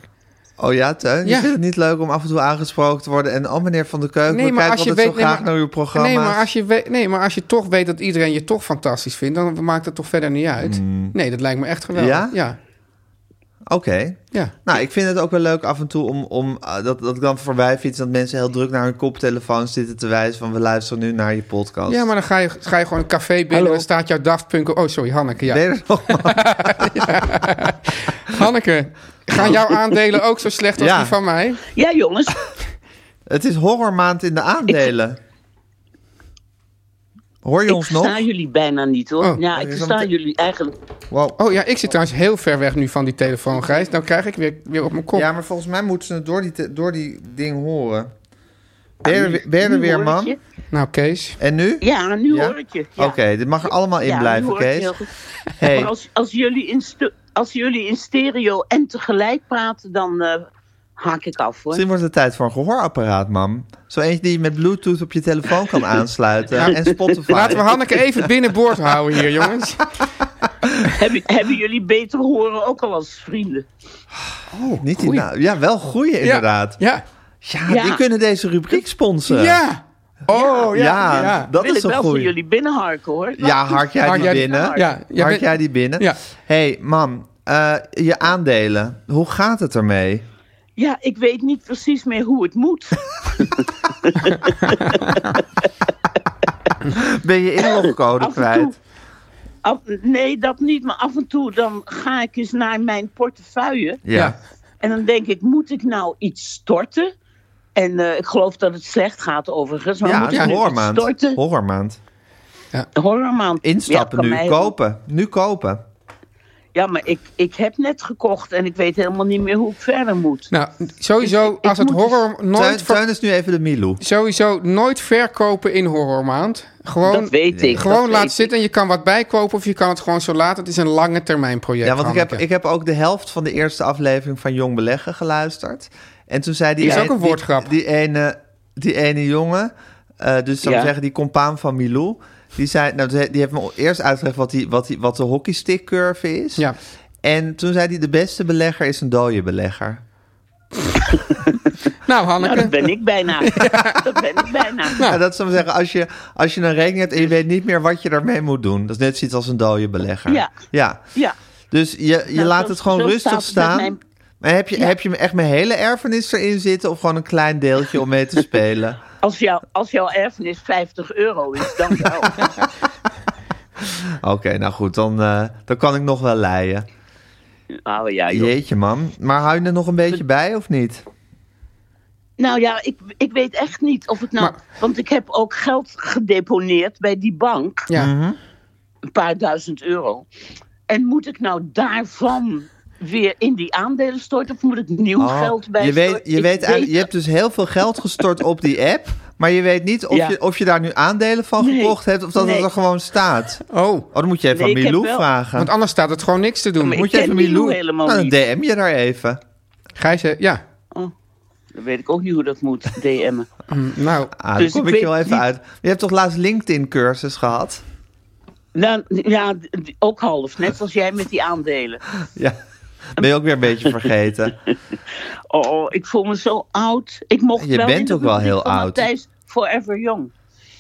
S1: Oh ja, Teun? Je
S2: Ja.
S1: vindt het niet leuk om af en toe aangesproken te worden... en oh meneer Van der Keuken, we kijken altijd zo
S2: nee,
S1: graag
S2: maar-
S1: naar uw programma.
S2: Nee maar, als je weet, nee, maar als je toch weet dat iedereen je
S1: Mm.
S2: toch fantastisch vindt... dan maakt het toch verder niet uit. Nee, dat lijkt me echt geweldig.
S1: Ja?
S2: ja.
S1: Oké.
S2: Ja.
S1: Nou, ik vind het ook wel leuk af en toe om, om eh, dat, dat ik dan voorbij fiets... dat mensen heel druk naar hun koptelefoon zitten te wijzen van... we luisteren nu naar je podcast.
S2: Ja, maar dan ga je, ga je gewoon een café binnen
S5: Hallo.
S2: en staat jouw Daft Punk... Oh, sorry, Hanneke. Ja.
S1: Ben je er nog?
S2: Hanneke, gaan jouw aandelen ook zo slecht als
S1: Ja.
S2: die van mij?
S5: Ja, jongens.
S1: het is horrormaand in de aandelen. Hoor je
S5: ik
S1: ons nog?
S5: versta jullie bijna niet hoor.
S2: Oh,
S5: ja,
S1: er
S5: ik
S1: is
S5: versta
S1: een-
S5: jullie eigenlijk.
S1: Wow.
S2: Oh ja, ik zit trouwens heel ver weg nu van die telefoon, Gijs. Dan krijg ik weer, weer op mijn kop.
S1: Ja, maar volgens mij moeten ze het door die, te- door die ding horen. Ben je er weer- ben je er
S5: Ah, Nu
S1: weer,
S5: hoor ik
S1: man?
S5: je.
S2: Nou, Kees.
S1: En nu?
S5: Ja, nu
S1: Ja?
S5: hoor ik je. Ja.
S1: Oké, dit mag er allemaal in
S5: Ja, nu
S1: blijven,
S5: hoor ik je
S1: Kees.
S5: heel goed.
S1: Hey.
S5: Maar als, als, jullie in stu- als jullie in stereo en tegelijk praten, dan eh, haak ik af hoor.
S1: Misschien wordt het tijd voor een gehoorapparaat, mam. Zo eentje die je met Bluetooth op je telefoon kan aansluiten. En Spotify.
S2: Laten we Hanneke even binnenboord houden hier, jongens.
S5: Hebben, hebben jullie beter horen ook al als vrienden?
S1: Oh, niet die naam. ja, wel goeie inderdaad. Ja,
S2: Ja.
S5: Ja.
S1: die kunnen deze rubriek
S2: Ja.
S1: sponsoren.
S2: ja. Oh, ja.
S1: Ja,
S2: Ja. ja.
S1: dat
S5: Wil
S1: is
S5: ik
S1: een
S5: wel voor
S1: goeie.
S5: jullie binnenharken hoor.
S1: Ja, hark jij
S2: Hark
S1: die
S2: jij die-
S1: binnen?
S2: Ja, jij
S1: hark
S2: bent-
S1: jij die binnen?
S2: Ja.
S1: hey, mam, eh, je aandelen. Hoe gaat het ermee?
S5: Ja, ik weet niet precies meer hoe het moet.
S1: Ben je inlogcode
S5: Af en toe.
S1: kwijt?
S5: Af- nee, dat niet, maar af en toe dan ga ik eens naar mijn portefeuille.
S1: Ja.
S5: En dan denk ik, moet ik nou iets storten? En eh, ik geloof dat het slecht gaat overigens. Maar
S1: Ja,
S5: moet
S1: het is
S5: ik nu iets
S1: horrormaand.
S5: storten?
S1: Horrormaand.
S5: Horrormaand. Ja,
S1: Instappen
S5: kan mij
S1: nu,
S5: ook.
S1: kopen. Nu kopen.
S5: Ja, maar ik, ik heb net gekocht en ik weet helemaal niet meer hoe ik verder moet.
S2: Nou, sowieso,
S5: Ik- ik
S2: als het
S5: moet- dus
S2: horror
S1: Tuin,
S2: nooit, ver-
S1: Tuin is nu even de Milou.
S2: sowieso nooit verkopen in horrormaand. Gewoon,
S5: dat weet ik.
S2: gewoon
S5: dat
S2: laat
S5: weet ik.
S2: zitten en je kan wat bijkopen of je kan het gewoon zo laten. Het is een lange termijn project.
S1: Ja, want ik heb,
S2: Hanneke.
S1: ik heb ook de helft van de eerste aflevering van Jong Beleggen geluisterd. En toen zei die...
S2: Is ook
S1: een-
S2: een woordgrap.
S1: Die, die, ene, die ene jongen, eh, dus zou ik
S5: Ja.
S1: zeggen die compaan van Milou... Die, zei, nou, die die heeft me eerst uitgelegd wat, die, wat, die, wat de hockeystickcurve is.
S2: Ja.
S1: En toen zei hij, de beste belegger is een dode belegger.
S2: Nou, Hanneke.
S5: Nou, dat ben ik bijna. Dat ben ik bijna.
S1: En Nou, dat zou ik zeggen, als je, als je een rekening hebt en je weet niet meer wat je daarmee moet doen... dat is net zoiets als een dode belegger.
S5: Ja.
S1: ja.
S5: Ja.
S1: Dus je, je
S5: Nou,
S1: laat
S5: zo-
S1: het gewoon
S5: zo
S1: rustig
S5: staat het met
S1: staan.
S5: mijn-
S1: Maar heb je, heb je echt mijn hele erfenis erin zitten of gewoon een klein deeltje om mee te spelen?
S5: Als, jou, als jouw erfenis 50 euro is, dan wel.
S1: Oké, nou goed, dan, eh, dan kan ik nog wel leien.
S5: Oh, ja, joh.
S1: Jeetje, man. Maar hou je er nog een beetje bij of niet?
S5: Nou ja, ik, ik weet echt niet of het nou...
S2: Maar-
S5: Want ik heb ook geld gedeponeerd bij die bank.
S2: Ja.
S1: Mhm.
S5: Een paar duizend euro. En moet ik nou daarvan weer in die aandelen storten? Of moet ik nieuw
S1: Oh,
S5: geld bij
S1: je, weet,
S5: storten?
S1: je,
S5: Ik
S1: weet, eigenlijk- je hebt dus heel veel geld gestort op die app. Maar je weet niet of,
S5: Ja.
S1: je, of je daar nu aandelen van
S5: Nee.
S1: gekocht hebt of dat het
S5: Nee.
S1: er gewoon staat.
S2: Oh,
S1: Oh, dan moet je even
S5: Nee,
S1: aan
S5: ik heb
S1: Milou
S5: wel-
S1: vragen.
S2: want anders staat het gewoon niks te doen.
S5: Maar
S1: moet
S5: ik
S1: je
S5: ken
S1: even
S5: Milou
S1: Milou...
S5: helemaal
S1: Nou, dan
S5: niet.
S1: DM je daar even.
S2: Gijs, eh, ja.
S5: Dan weet ik ook niet hoe dat moet, DM'en.
S2: Nou,
S1: Ah, dan
S5: Dus
S1: kom
S5: ik
S1: ik, je
S5: weet
S1: wel even
S5: niet-
S1: uit. Je hebt toch laatst LinkedIn-cursus gehad?
S5: Nou, ja, d- d- ook half. Net als jij met die aandelen.
S1: Ja, ben je ook weer een beetje vergeten.
S5: Oh, ik voel me zo oud. Ik mocht
S1: Je
S5: wel
S1: bent
S5: in de
S1: ook wel
S5: rubriek
S1: heel
S5: van
S1: oud.
S5: Matthijs Forever Young.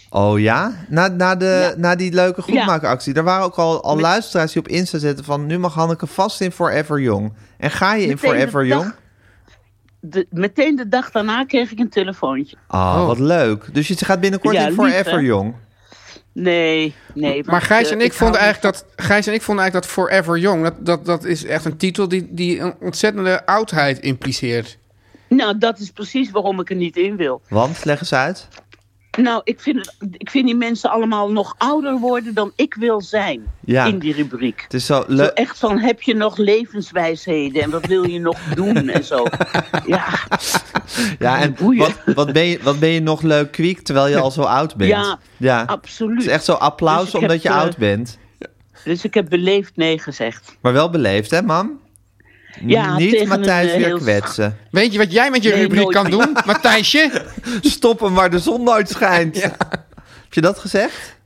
S1: Oh ja? Na, na, de,
S5: Ja.
S1: na die leuke goedmaakactie. Daar waren ook al, al
S5: Met-
S1: luisteraars die op Insta zetten van... nu mag Hanneke vast in Forever Young. En ga je in
S5: Meteen de
S1: Forever
S5: dag-
S1: Young?
S5: De, meteen de dag daarna kreeg ik een telefoontje.
S1: Ah,
S2: Oh.
S1: wat leuk. Dus je gaat binnenkort
S5: Ja,
S1: in
S5: lief,
S1: Forever
S5: hè?
S1: Young.
S5: Nee, nee.
S2: Maar
S5: want,
S2: Gijs
S5: eh,
S2: en ik,
S5: hou
S2: vonden
S5: niet
S2: eigenlijk dat, Gijs en ik vonden eigenlijk dat Forever Young, dat, dat, dat is echt een titel die, die een ontzettende oudheid impliceert.
S5: van- Nou, dat is precies waarom ik er niet in wil.
S1: Want, leg eens uit.
S5: Nou, ik vind, het, ik vind die mensen allemaal nog ouder worden dan ik wil zijn
S1: Ja. Eh.
S5: in die rubriek.
S1: Het is zo
S5: Zo
S1: leuk.
S5: echt van, heb je nog levenswijsheden en wat wil je nog doen en zo. Ja,
S1: Ja, en
S5: boeien.
S1: wat, wat, ben je, wat ben je nog leuk kwiek terwijl je al zo oud bent.
S5: Ja,
S1: Het
S5: absoluut.
S1: is echt zo applaus
S5: Dus ik
S1: omdat
S5: heb,
S1: je
S5: eh,
S1: oud bent.
S5: Dus ik heb beleefd nee gezegd.
S1: Maar wel beleefd, hè, mam?
S5: Ja,
S1: Niet
S5: tegen
S1: Matthijs
S5: een, eh,
S1: weer
S5: heel-
S1: kwetsen.
S2: Weet je wat jij met je
S5: Nee,
S2: rubriek
S5: nooit
S2: kan
S5: meer.
S2: doen, Matthijsje?
S1: Stop hem waar de zon nooit schijnt. Heb je dat gezegd?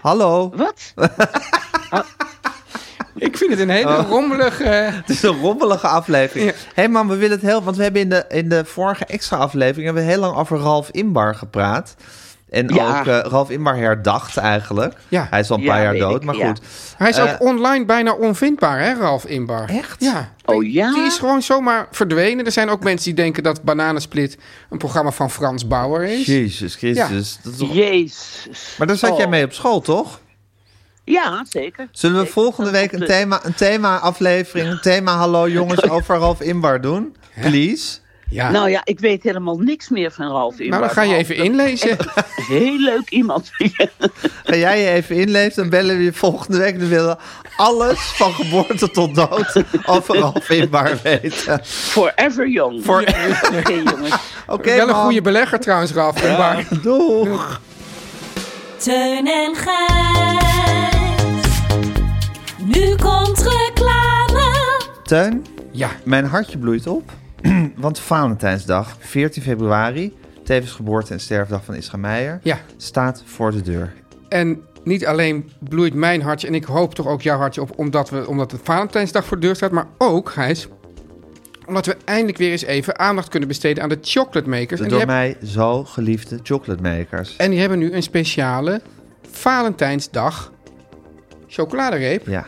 S1: Hallo.
S5: Wat?
S2: Ik vind het een hele
S5: Oh.
S2: rommelige...
S1: Het is een rommelige aflevering.
S2: Ja.
S1: Hé hey man, we willen het heel... Want we hebben in de, in de vorige extra aflevering... hebben we heel lang over Ralf Inbar gepraat. En
S5: Ja.
S1: ook eh Ralf Inbar herdacht eigenlijk.
S2: Ja.
S1: Hij is al een
S5: Ja,
S1: paar jaar
S5: weet
S1: dood,
S5: ik,
S1: maar
S5: ja.
S1: goed.
S2: Hij is
S1: Eh,
S2: ook online bijna onvindbaar, hè, Ralf Inbar?
S1: Echt?
S2: Ja.
S5: Oh ja?
S2: Die is gewoon zomaar verdwenen. Er zijn ook mensen die denken dat Bananensplit een programma van Frans Bauer is.
S1: Jezus Christus. Dat is toch-
S5: Jezus.
S1: Maar daar zat
S5: Oh.
S1: jij mee op school, toch?
S5: Ja, zeker.
S1: Zullen we
S5: Zeker.
S1: volgende
S5: Dat
S1: week
S5: komt,
S1: een
S5: eh,
S1: thema, een thema aflevering, een thema hallo jongens over Ralf Inbar doen? Please.
S2: Ja. Nou,
S5: Nou ja, ik weet helemaal niks meer van Ralf Inbar.
S2: Ah. dan ga je even inlezen.
S5: Heel leuk iemand.
S1: Ga jij je even inleven, dan bellen we je volgende week. Dan willen we alles van geboorte tot dood over Ralf Inbar weten.
S5: Forever young. Oké, jongens.
S1: Oké,
S2: Wel een
S1: man.
S2: goede belegger trouwens, Ralf Inbar.
S1: Doeg.
S4: Teun en Gijs. Nu komt reclame.
S1: Teun,
S2: Ja.
S1: mijn hartje bloeit op. Want Valentijnsdag, 14 februari, tevens geboorte en sterfdag van Isra Meijer,
S2: Ja.
S1: staat voor de deur.
S2: En niet alleen bloeit mijn hartje en ik hoop toch ook jouw hartje op, omdat, we, omdat de Valentijnsdag voor de deur staat, maar ook, Gijs, omdat we eindelijk weer eens even aandacht kunnen besteden aan de chocolate makers.
S1: De
S2: En die,
S1: door
S2: hebben,
S1: mij zo geliefde chocolademakers.
S2: en die hebben nu een speciale Valentijnsdag chocoladereep.
S1: Ja,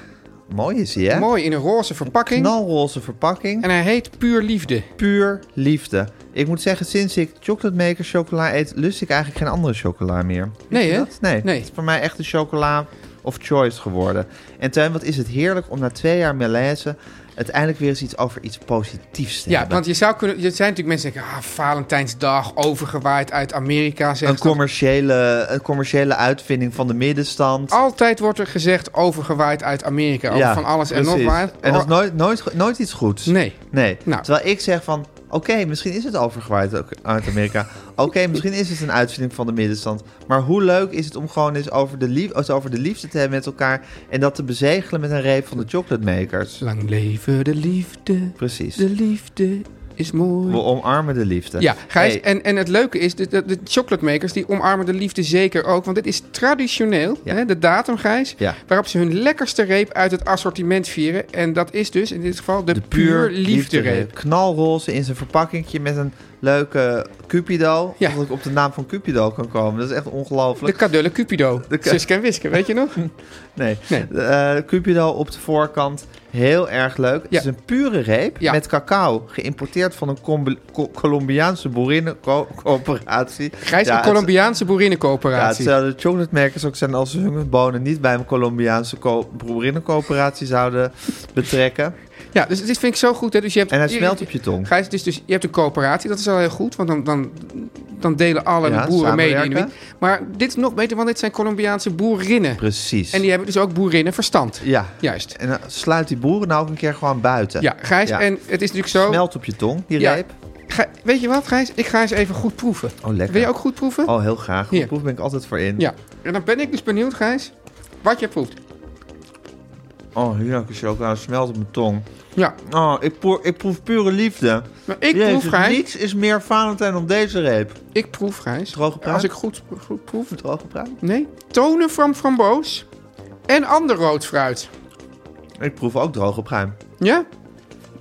S1: mooi is hij, hè?
S2: Mooi in een roze verpakking.
S1: Nou. Knalroze verpakking.
S2: En hij heet Puur Liefde.
S1: puur liefde. Ik moet zeggen, sinds ik chocolate maker chocola eet, lust ik eigenlijk geen andere chocola meer. Wist
S2: Nee,
S1: je
S2: hè?
S1: dat? Nee,
S2: Nee.
S1: Het is voor mij echt de chocola of choice geworden. En Tuin, wat is het heerlijk om na twee jaar malaise uiteindelijk weer eens iets over iets positiefs te
S2: Ja,
S1: hebben.
S2: want je zou kunnen. Er zijn natuurlijk mensen die zeggen: ah, Valentijnsdag, overgewaaid uit Amerika.
S1: Een
S2: Zegt ze.
S1: commerciële, een commerciële uitvinding van de middenstand.
S2: Altijd wordt er gezegd: overgewaaid uit Amerika. Over
S1: Ja,
S2: Oh, van alles en
S1: precies.
S2: nog wat. Oh,
S1: En dat is nooit, nooit, go- nooit iets goeds.
S2: Nee.
S1: Nee.
S2: Nou.
S1: Terwijl ik zeg van, oké, misschien is het overgewaaid ook uit Amerika. oké, misschien is het een uitvinding van de middenstand. Maar hoe leuk is het om gewoon eens over de, lief, het over de liefde te hebben met elkaar... en dat te bezegelen met een reep van de chocolademakers.
S2: Lang leven de liefde.
S1: Precies.
S2: De liefde is mooi.
S1: We omarmen de liefde.
S2: Ja, Gijs,
S1: Hey,
S2: en, en het leuke is, de, de, de chocolademakers die omarmen de liefde zeker ook. Want dit is traditioneel,
S1: Ja.
S2: hè, de datum, Gijs,
S1: Ja.
S2: waarop ze hun lekkerste reep uit het assortiment vieren. En dat is dus in dit geval de,
S1: de
S2: puur liefde reep.
S1: Knalroze in zijn verpakkingje met een leuke Cupido.
S2: Ja.
S1: Dat ik op de naam van Cupido kan komen. Dat is echt
S2: De
S1: ongelooflijk.
S2: kadulle Cupido.
S1: De ka-
S2: Suske en Wiske, weet je nog?
S1: Nee.
S2: Nee.
S1: Eh, Cupido op de voorkant. Heel erg leuk. Het
S2: Ja.
S1: is een pure reep
S2: Ja.
S1: met cacao. Geïmporteerd van een Combe- Co- Colombiaanse boerinnencoöperatie.
S2: Gijs, een Colombiaanse
S1: Ja, het
S2: boerinnencoöperatie.
S1: zouden de chocolatemakers ook zijn als ze hun bonen niet bij een Colombiaanse co- boerinnencoöperatie zouden betrekken.
S2: Ja, dus dit vind ik zo goed. Hè. Dus je hebt,
S1: En hij
S2: je-
S1: smelt op je tong.
S2: Gijs, dus, dus je hebt een coöperatie, dat is al heel goed, want dan, dan, dan delen alle
S1: Ja,
S2: boeren mee. die in de
S1: samenwerken.
S2: wiet. Maar dit is nog beter, want dit zijn Colombiaanse boerinnen.
S1: Precies.
S2: En die hebben dus ook boerinnenverstand.
S1: Ja.
S2: Juist.
S1: En dan sluit die boeren nou ook een keer gewoon buiten.
S2: Ja, Gijs, en het is natuurlijk zo...
S1: Smelt op je tong, die
S2: Ja.
S1: reep.
S2: Gij- weet je wat, Gijs? Ik ga eens even goed proeven.
S1: Oh, lekker.
S2: Wil je ook goed proeven?
S1: Oh, heel graag. Goed
S2: Hier.
S1: proef ben ik altijd voor in.
S2: Ja. En dan ben ik dus benieuwd, Gijs, wat je proeft.
S1: Oh, heerlijke chocola. Smelt op mijn tong.
S2: Ja.
S1: Oh, ik, proef- ik proef pure liefde.
S2: Maar ik
S1: Jezus,
S2: proef, Gijs...
S1: Niets is meer Valentijn dan deze reep.
S2: Ik proef, Gijs.
S1: Droge pruim?
S2: Als ik goed, goed proef...
S1: Droge pruim?
S2: Nee. Tonen van framboos en ander rood fruit.
S1: Ik proef ook droge pruim. Dat
S2: Ja?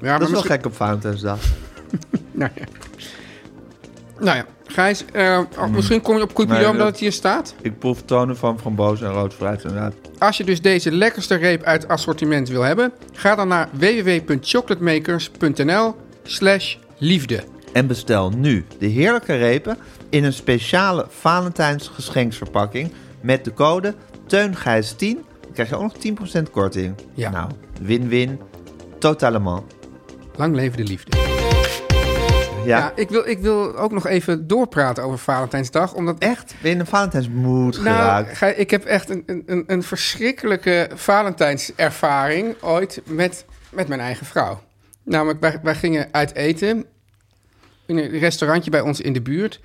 S2: Ja,
S1: is wel gek op Valentijnsdag.
S2: Nou ja. Nou ja, Gijs, eh, oh, misschien kom je op Cupido
S1: Hmm. Nee, dat-
S2: omdat het hier staat.
S1: Ik proef tonen van framboos en rood fruit inderdaad.
S2: Als je dus deze lekkerste reep uit het assortiment wil hebben, ga dan naar www.chocolatemakers.nl slash liefde.
S1: En bestel nu de heerlijke repen in een speciale Valentijns geschenksverpakking met de code TEUNGIJS10. Dan krijg je ook nog 10% korting.
S2: Ja.
S1: Nou, win-win. Totalement.
S2: Lang leven de liefde.
S1: Ja.
S2: Ja, ik, wil, ik wil ook nog even doorpraten over Valentijnsdag. Omdat
S1: Echt? Ben je in een Valentijnsmoed
S2: Nou,
S1: geraakt?
S2: Gij, ik heb echt een, een- een, een verschrikkelijke Valentijnservaring ooit met, met mijn eigen vrouw. Namelijk, wij, wij gingen uit eten in een restaurantje bij ons in de buurt.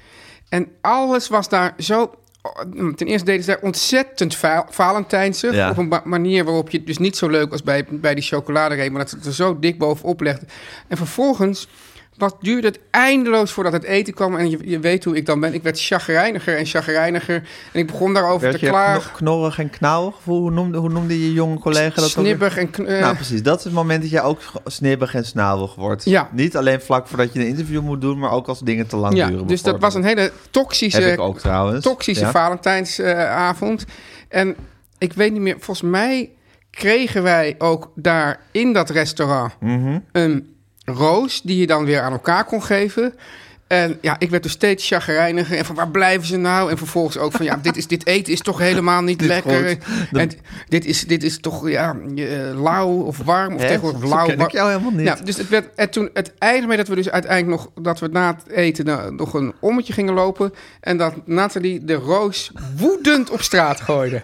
S2: En alles was daar zo... Ten eerste deden ze daar ontzettend va- Valentijnsig.
S1: Ja.
S2: Op een ba- manier waarop je het dus niet zo leuk was bij, bij die chocoladereep... maar dat ze het er zo dik bovenop legden. En vervolgens wat duurde het eindeloos voordat het eten kwam. En je, je weet hoe ik dan ben. Ik werd chagrijniger en chagrijniger. En ik begon daarover
S1: Werd
S2: te
S1: je
S2: klagen.
S1: kno- knorrig en knauwig? Hoe hoe noemde, hoe noemde je jonge collega dat ook weer?
S2: Snibbig en... kn- eh,
S1: Nou, precies. Dat is het moment dat je ook g- snibbig en snauwig wordt.
S2: Ja.
S1: Niet alleen vlak voordat je een interview moet doen, maar ook als dingen te lang
S2: ja,
S1: duren.
S2: dus dat was een hele toxische...
S1: Heb ik ook trouwens.
S2: toxische
S1: Ja.
S2: Valentijnsavond. en ik weet niet meer, volgens mij kregen wij ook daar in dat restaurant
S1: Mhm.
S2: een roos die je dan weer aan elkaar kon geven. En ja, ik werd dus steeds chagrijniger. En van waar blijven ze nou? En vervolgens ook van ja, dit, is, dit eten is toch helemaal niet
S1: Niet
S2: lekker.
S1: goed. Dat-
S2: En dit is, dit is toch ja, eh, lauw of warm. Of
S1: Hè?
S2: tegenwoordig
S1: Zo
S2: lauw.
S1: ken ik
S2: wa-
S1: jou helemaal niet.
S2: Ja, dus het werd en toen het eindigde mee dat we dus uiteindelijk nog dat we na het eten nou, nog een ommetje gingen lopen en dat Nathalie de roos woedend op straat gooide.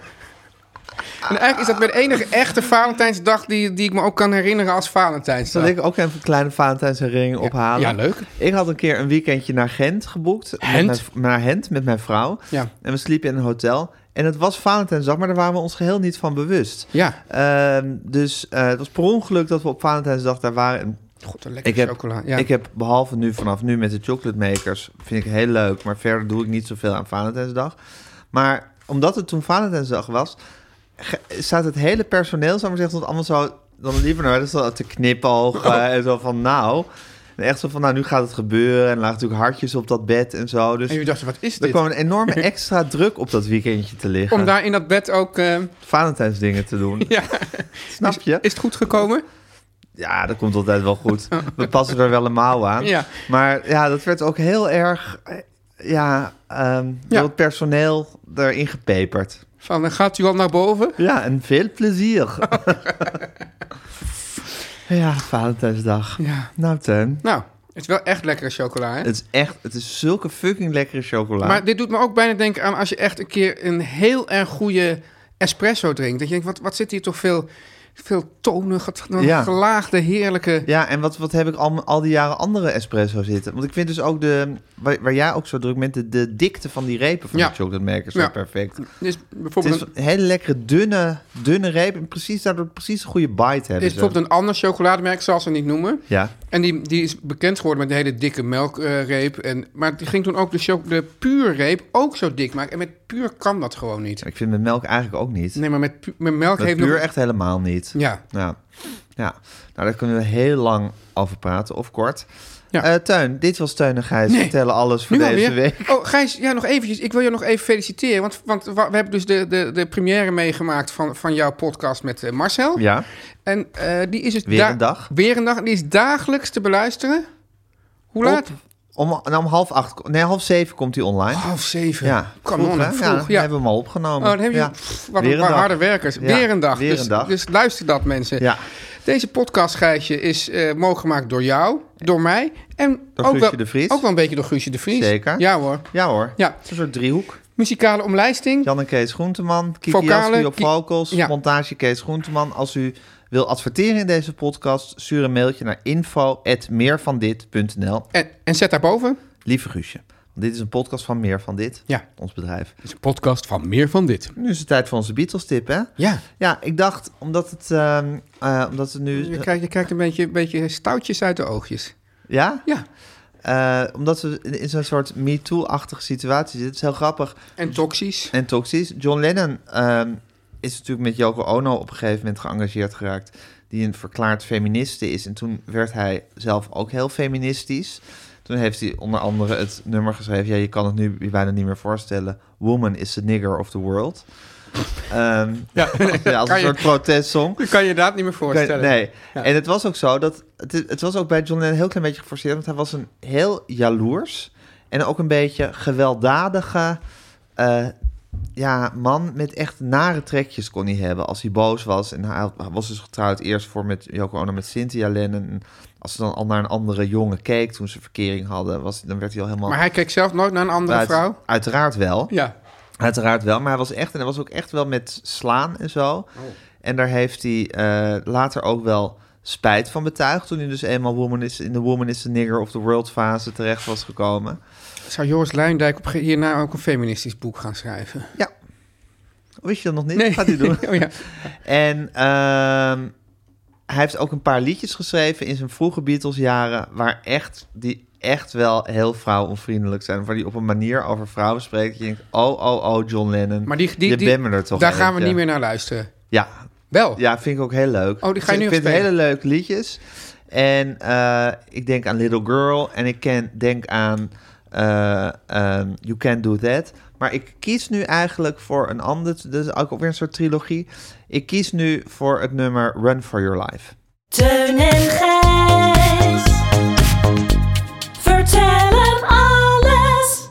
S2: En eigenlijk is dat mijn enige echte Valentijnsdag die, die ik me ook kan herinneren als Valentijnsdag.
S1: Zal ik ook even een kleine Valentijnsring ophalen?
S2: ja, leuk.
S1: Ik had een keer een weekendje naar Gent geboekt. Met
S2: Hent?
S1: mijn v- naar Gent met mijn vrouw.
S2: Ja.
S1: En we sliepen in een hotel. En het was Valentijnsdag, maar daar waren we ons geheel niet van bewust.
S2: Ja.
S1: Ehm, dus eh, het was per ongeluk dat we op Valentijnsdag daar waren. En
S2: God, een
S1: Ik
S2: lekkere
S1: heb,
S2: chocola. Ja.
S1: ik heb behalve nu vanaf nu met de chocolate makers, vind ik heel leuk, maar verder doe ik niet zoveel aan Valentijnsdag. Maar omdat het toen Valentijnsdag was, ge- staat het hele personeel, zou ik maar zeggen, stond allemaal zo dan liever naar dus zo te knipogen
S2: Oh.
S1: en zo van nou. En echt zo van nou, nu gaat het gebeuren en laag natuurlijk hartjes op dat bed en zo. Dus
S2: en jullie dachten, wat is
S1: er
S2: dit?
S1: kwam een enorme extra druk op dat weekendje te liggen.
S2: Om daar in dat bed ook... eh,
S1: Valentijnsdingen te doen.
S2: ja.
S1: Snap je?
S2: Is het goed gekomen?
S1: Ja, dat komt altijd wel goed. We passen er wel een mouw aan.
S2: Ja.
S1: Maar ja, dat werd ook heel erg eh, ja, ehm, door
S2: Ja.
S1: het personeel erin gepeperd.
S2: Van, eh, gaat u al naar boven?
S1: Ja, en veel plezier. ja, Valentijnsdag.
S2: Ja.
S1: Nou, Teun.
S2: Nou, het is wel echt lekkere chocola, hè?
S1: Het is echt, het is zulke fucking lekkere chocola.
S2: Maar dit doet me ook bijna denken aan als je echt een keer een heel erg goede espresso drinkt. Dat je denkt, wat, wat zit hier toch veel, veel tonen, get-
S1: Ja.
S2: gelaagde, heerlijke...
S1: Ja, en wat, wat heb ik al, al die jaren andere espresso zitten? Want ik vind dus ook de, waar, waar jij ook zo druk bent, de, de dikte van die repen van
S2: Ja.
S1: de chocolate makers
S2: Ja.
S1: zo perfect.
S2: Dus
S1: Het
S2: bijvoorbeeld,
S1: is
S2: een,
S1: een hele lekkere dunne, dunne reep en precies daardoor precies een goede bite hebben
S2: is
S1: ze.
S2: bijvoorbeeld een ander chocolademerk, zal ze niet noemen.
S1: Ja,
S2: En die, die is bekend geworden met een hele dikke melkreep. en, maar die ging toen ook de, cho- de puurreep ook zo dik maken. En met puur kan dat gewoon niet.
S1: ik vind met melk eigenlijk ook niet.
S2: Nee, maar met, pu- met melk
S1: met
S2: heeft
S1: puur
S2: nog...
S1: echt helemaal niet.
S2: Ja,
S1: Ja. ja, nou daar kunnen we heel lang over praten, of kort.
S2: Ja.
S1: Eh, Teun, dit was Teun en Gijs.
S2: Nee.
S1: Vertellen alles voor
S2: Nu
S1: deze
S2: alweer?
S1: week.
S2: Oh, Gijs, ja, nog eventjes. Ik wil je nog even feliciteren. Want, want wa- we hebben dus de, de, de première meegemaakt van, van jouw podcast met eh, Marcel.
S1: Ja,
S2: En eh, die is dus...
S1: Weer
S2: da-
S1: een dag.
S2: Weer een dag. En Die is dagelijks te beluisteren. Hoe
S1: Op-
S2: laat?
S1: om, en om half acht, ko- nee, half zeven komt hij online.
S2: Half zeven.
S1: Ja,
S2: Come on,
S1: hè?
S2: Oh, vroeg.
S1: Ja,
S2: Ja,
S1: dan hebben we hem al opgenomen.
S2: Oh, dan heb je
S1: ja.
S2: pff, wat,
S1: Weer een
S2: een paar
S1: dag.
S2: harde werkers.
S1: Ja,
S2: weer een dag.
S1: weer
S2: dus,
S1: een dag.
S2: dus luister dat, mensen.
S1: Ja.
S2: Deze podcast, Gijsje, is eh, mogelijk gemaakt door jou, door mij... en
S1: Door
S2: ook
S1: Guusje
S2: wel,
S1: de Vries.
S2: ook wel een beetje door Guusje de Vries.
S1: Zeker.
S2: Ja hoor.
S1: ja hoor,
S2: Ja.
S1: Het is een soort driehoek.
S2: Muzikale omlijsting.
S1: Jan en Kees Groenteman, Kiki
S2: Vocalen,
S1: Jaspie op
S2: Ki-
S1: vocals,
S2: Ja.
S1: montage Kees Groenteman. Als u wil adverteren in deze podcast, stuur een mailtje naar info.meervandit.nl.
S2: En, en zet daarboven...
S1: Lieve Guusje, want dit is een podcast van Meer van Dit,
S2: Ja.
S1: ons bedrijf.
S2: is een podcast van meer van dit.
S1: Nu is het tijd voor onze Beatles-tip, hè?
S2: Ja.
S1: Ja, ik dacht, omdat het, ehm, eh, omdat het nu...
S2: Je kijkt, je kijkt een beetje, beetje stoutjes uit de oogjes.
S1: ja?
S2: Ja.
S1: Eh, omdat we in in zo'n soort MeToo-achtige situatie zitten. Het is heel grappig.
S2: En toxisch.
S1: en toxisch. John Lennon ehm, is natuurlijk met Yoko Ono op een gegeven moment geëngageerd geraakt. Die een verklaard feministe is. En toen werd hij zelf ook heel feministisch. Toen heeft hij onder andere het nummer geschreven. Ja, je kan het nu je bijna niet meer voorstellen. Woman is the nigger of the world. Ehm, ja, als
S2: kan
S1: een
S2: je-
S1: soort protestsong.
S2: Dat kan je inderdaad niet meer voorstellen.
S1: Nee.
S2: Ja.
S1: En het was ook zo dat. Het, is- het was ook bij John Lennon een heel klein beetje geforceerd. Want hij was een heel jaloers. En ook een beetje gewelddadige. eh, ja, man met echt nare trekjes kon hij hebben als hij boos was. En hij, had- hij was dus getrouwd eerst voor met Yoko Ono met Cynthia Lennon. En als ze dan al naar een andere jongen keek toen ze verkering hadden, was, dan werd hij al helemaal...
S2: Maar hij keek zelf nooit naar een andere
S1: Uit-
S2: vrouw.
S1: Uiteraard wel.
S2: Ja.
S1: Uiteraard wel, maar hij was echt en hij was ook echt wel met slaan en zo.
S2: Oh.
S1: En daar heeft hij eh, later ook wel spijt van betuigd toen hij dus eenmaal woman is, in de woman is the nigger of the world fase terecht was gekomen.
S2: Zou Joris Luijendijk op ge- hierna ook een feministisch boek gaan schrijven?
S1: Ja, wist je dat nog niet?
S2: Nee.
S1: Gaat hij doen.
S2: Oh ja.
S1: En ehm, hij heeft ook een paar liedjes geschreven in zijn vroege Beatles-jaren... waar echt, die echt wel heel vrouwonvriendelijk zijn. Waar hij op een manier over vrouwen spreekt. Dat je denkt, oh, oh, oh, John Lennon.
S2: Maar die, die,
S1: je
S2: die-
S1: bent me er toch
S2: Daar gaan we
S1: eentje.
S2: niet meer naar luisteren.
S1: Ja,
S2: Wel.
S1: ja, vind ik ook heel leuk.
S2: Oh, die ga je
S1: ik
S2: nu
S1: vind
S2: spelen.
S1: hele leuke liedjes. En eh, ik denk aan Little Girl. En ik ken, denk aan eh, ehm, You Can Do That. Maar ik kies nu eigenlijk voor een ander. Dat is ook weer een soort trilogie. Ik kies nu voor het nummer Run For Your Life.
S6: Teun en Gijs. Vertel hem alles.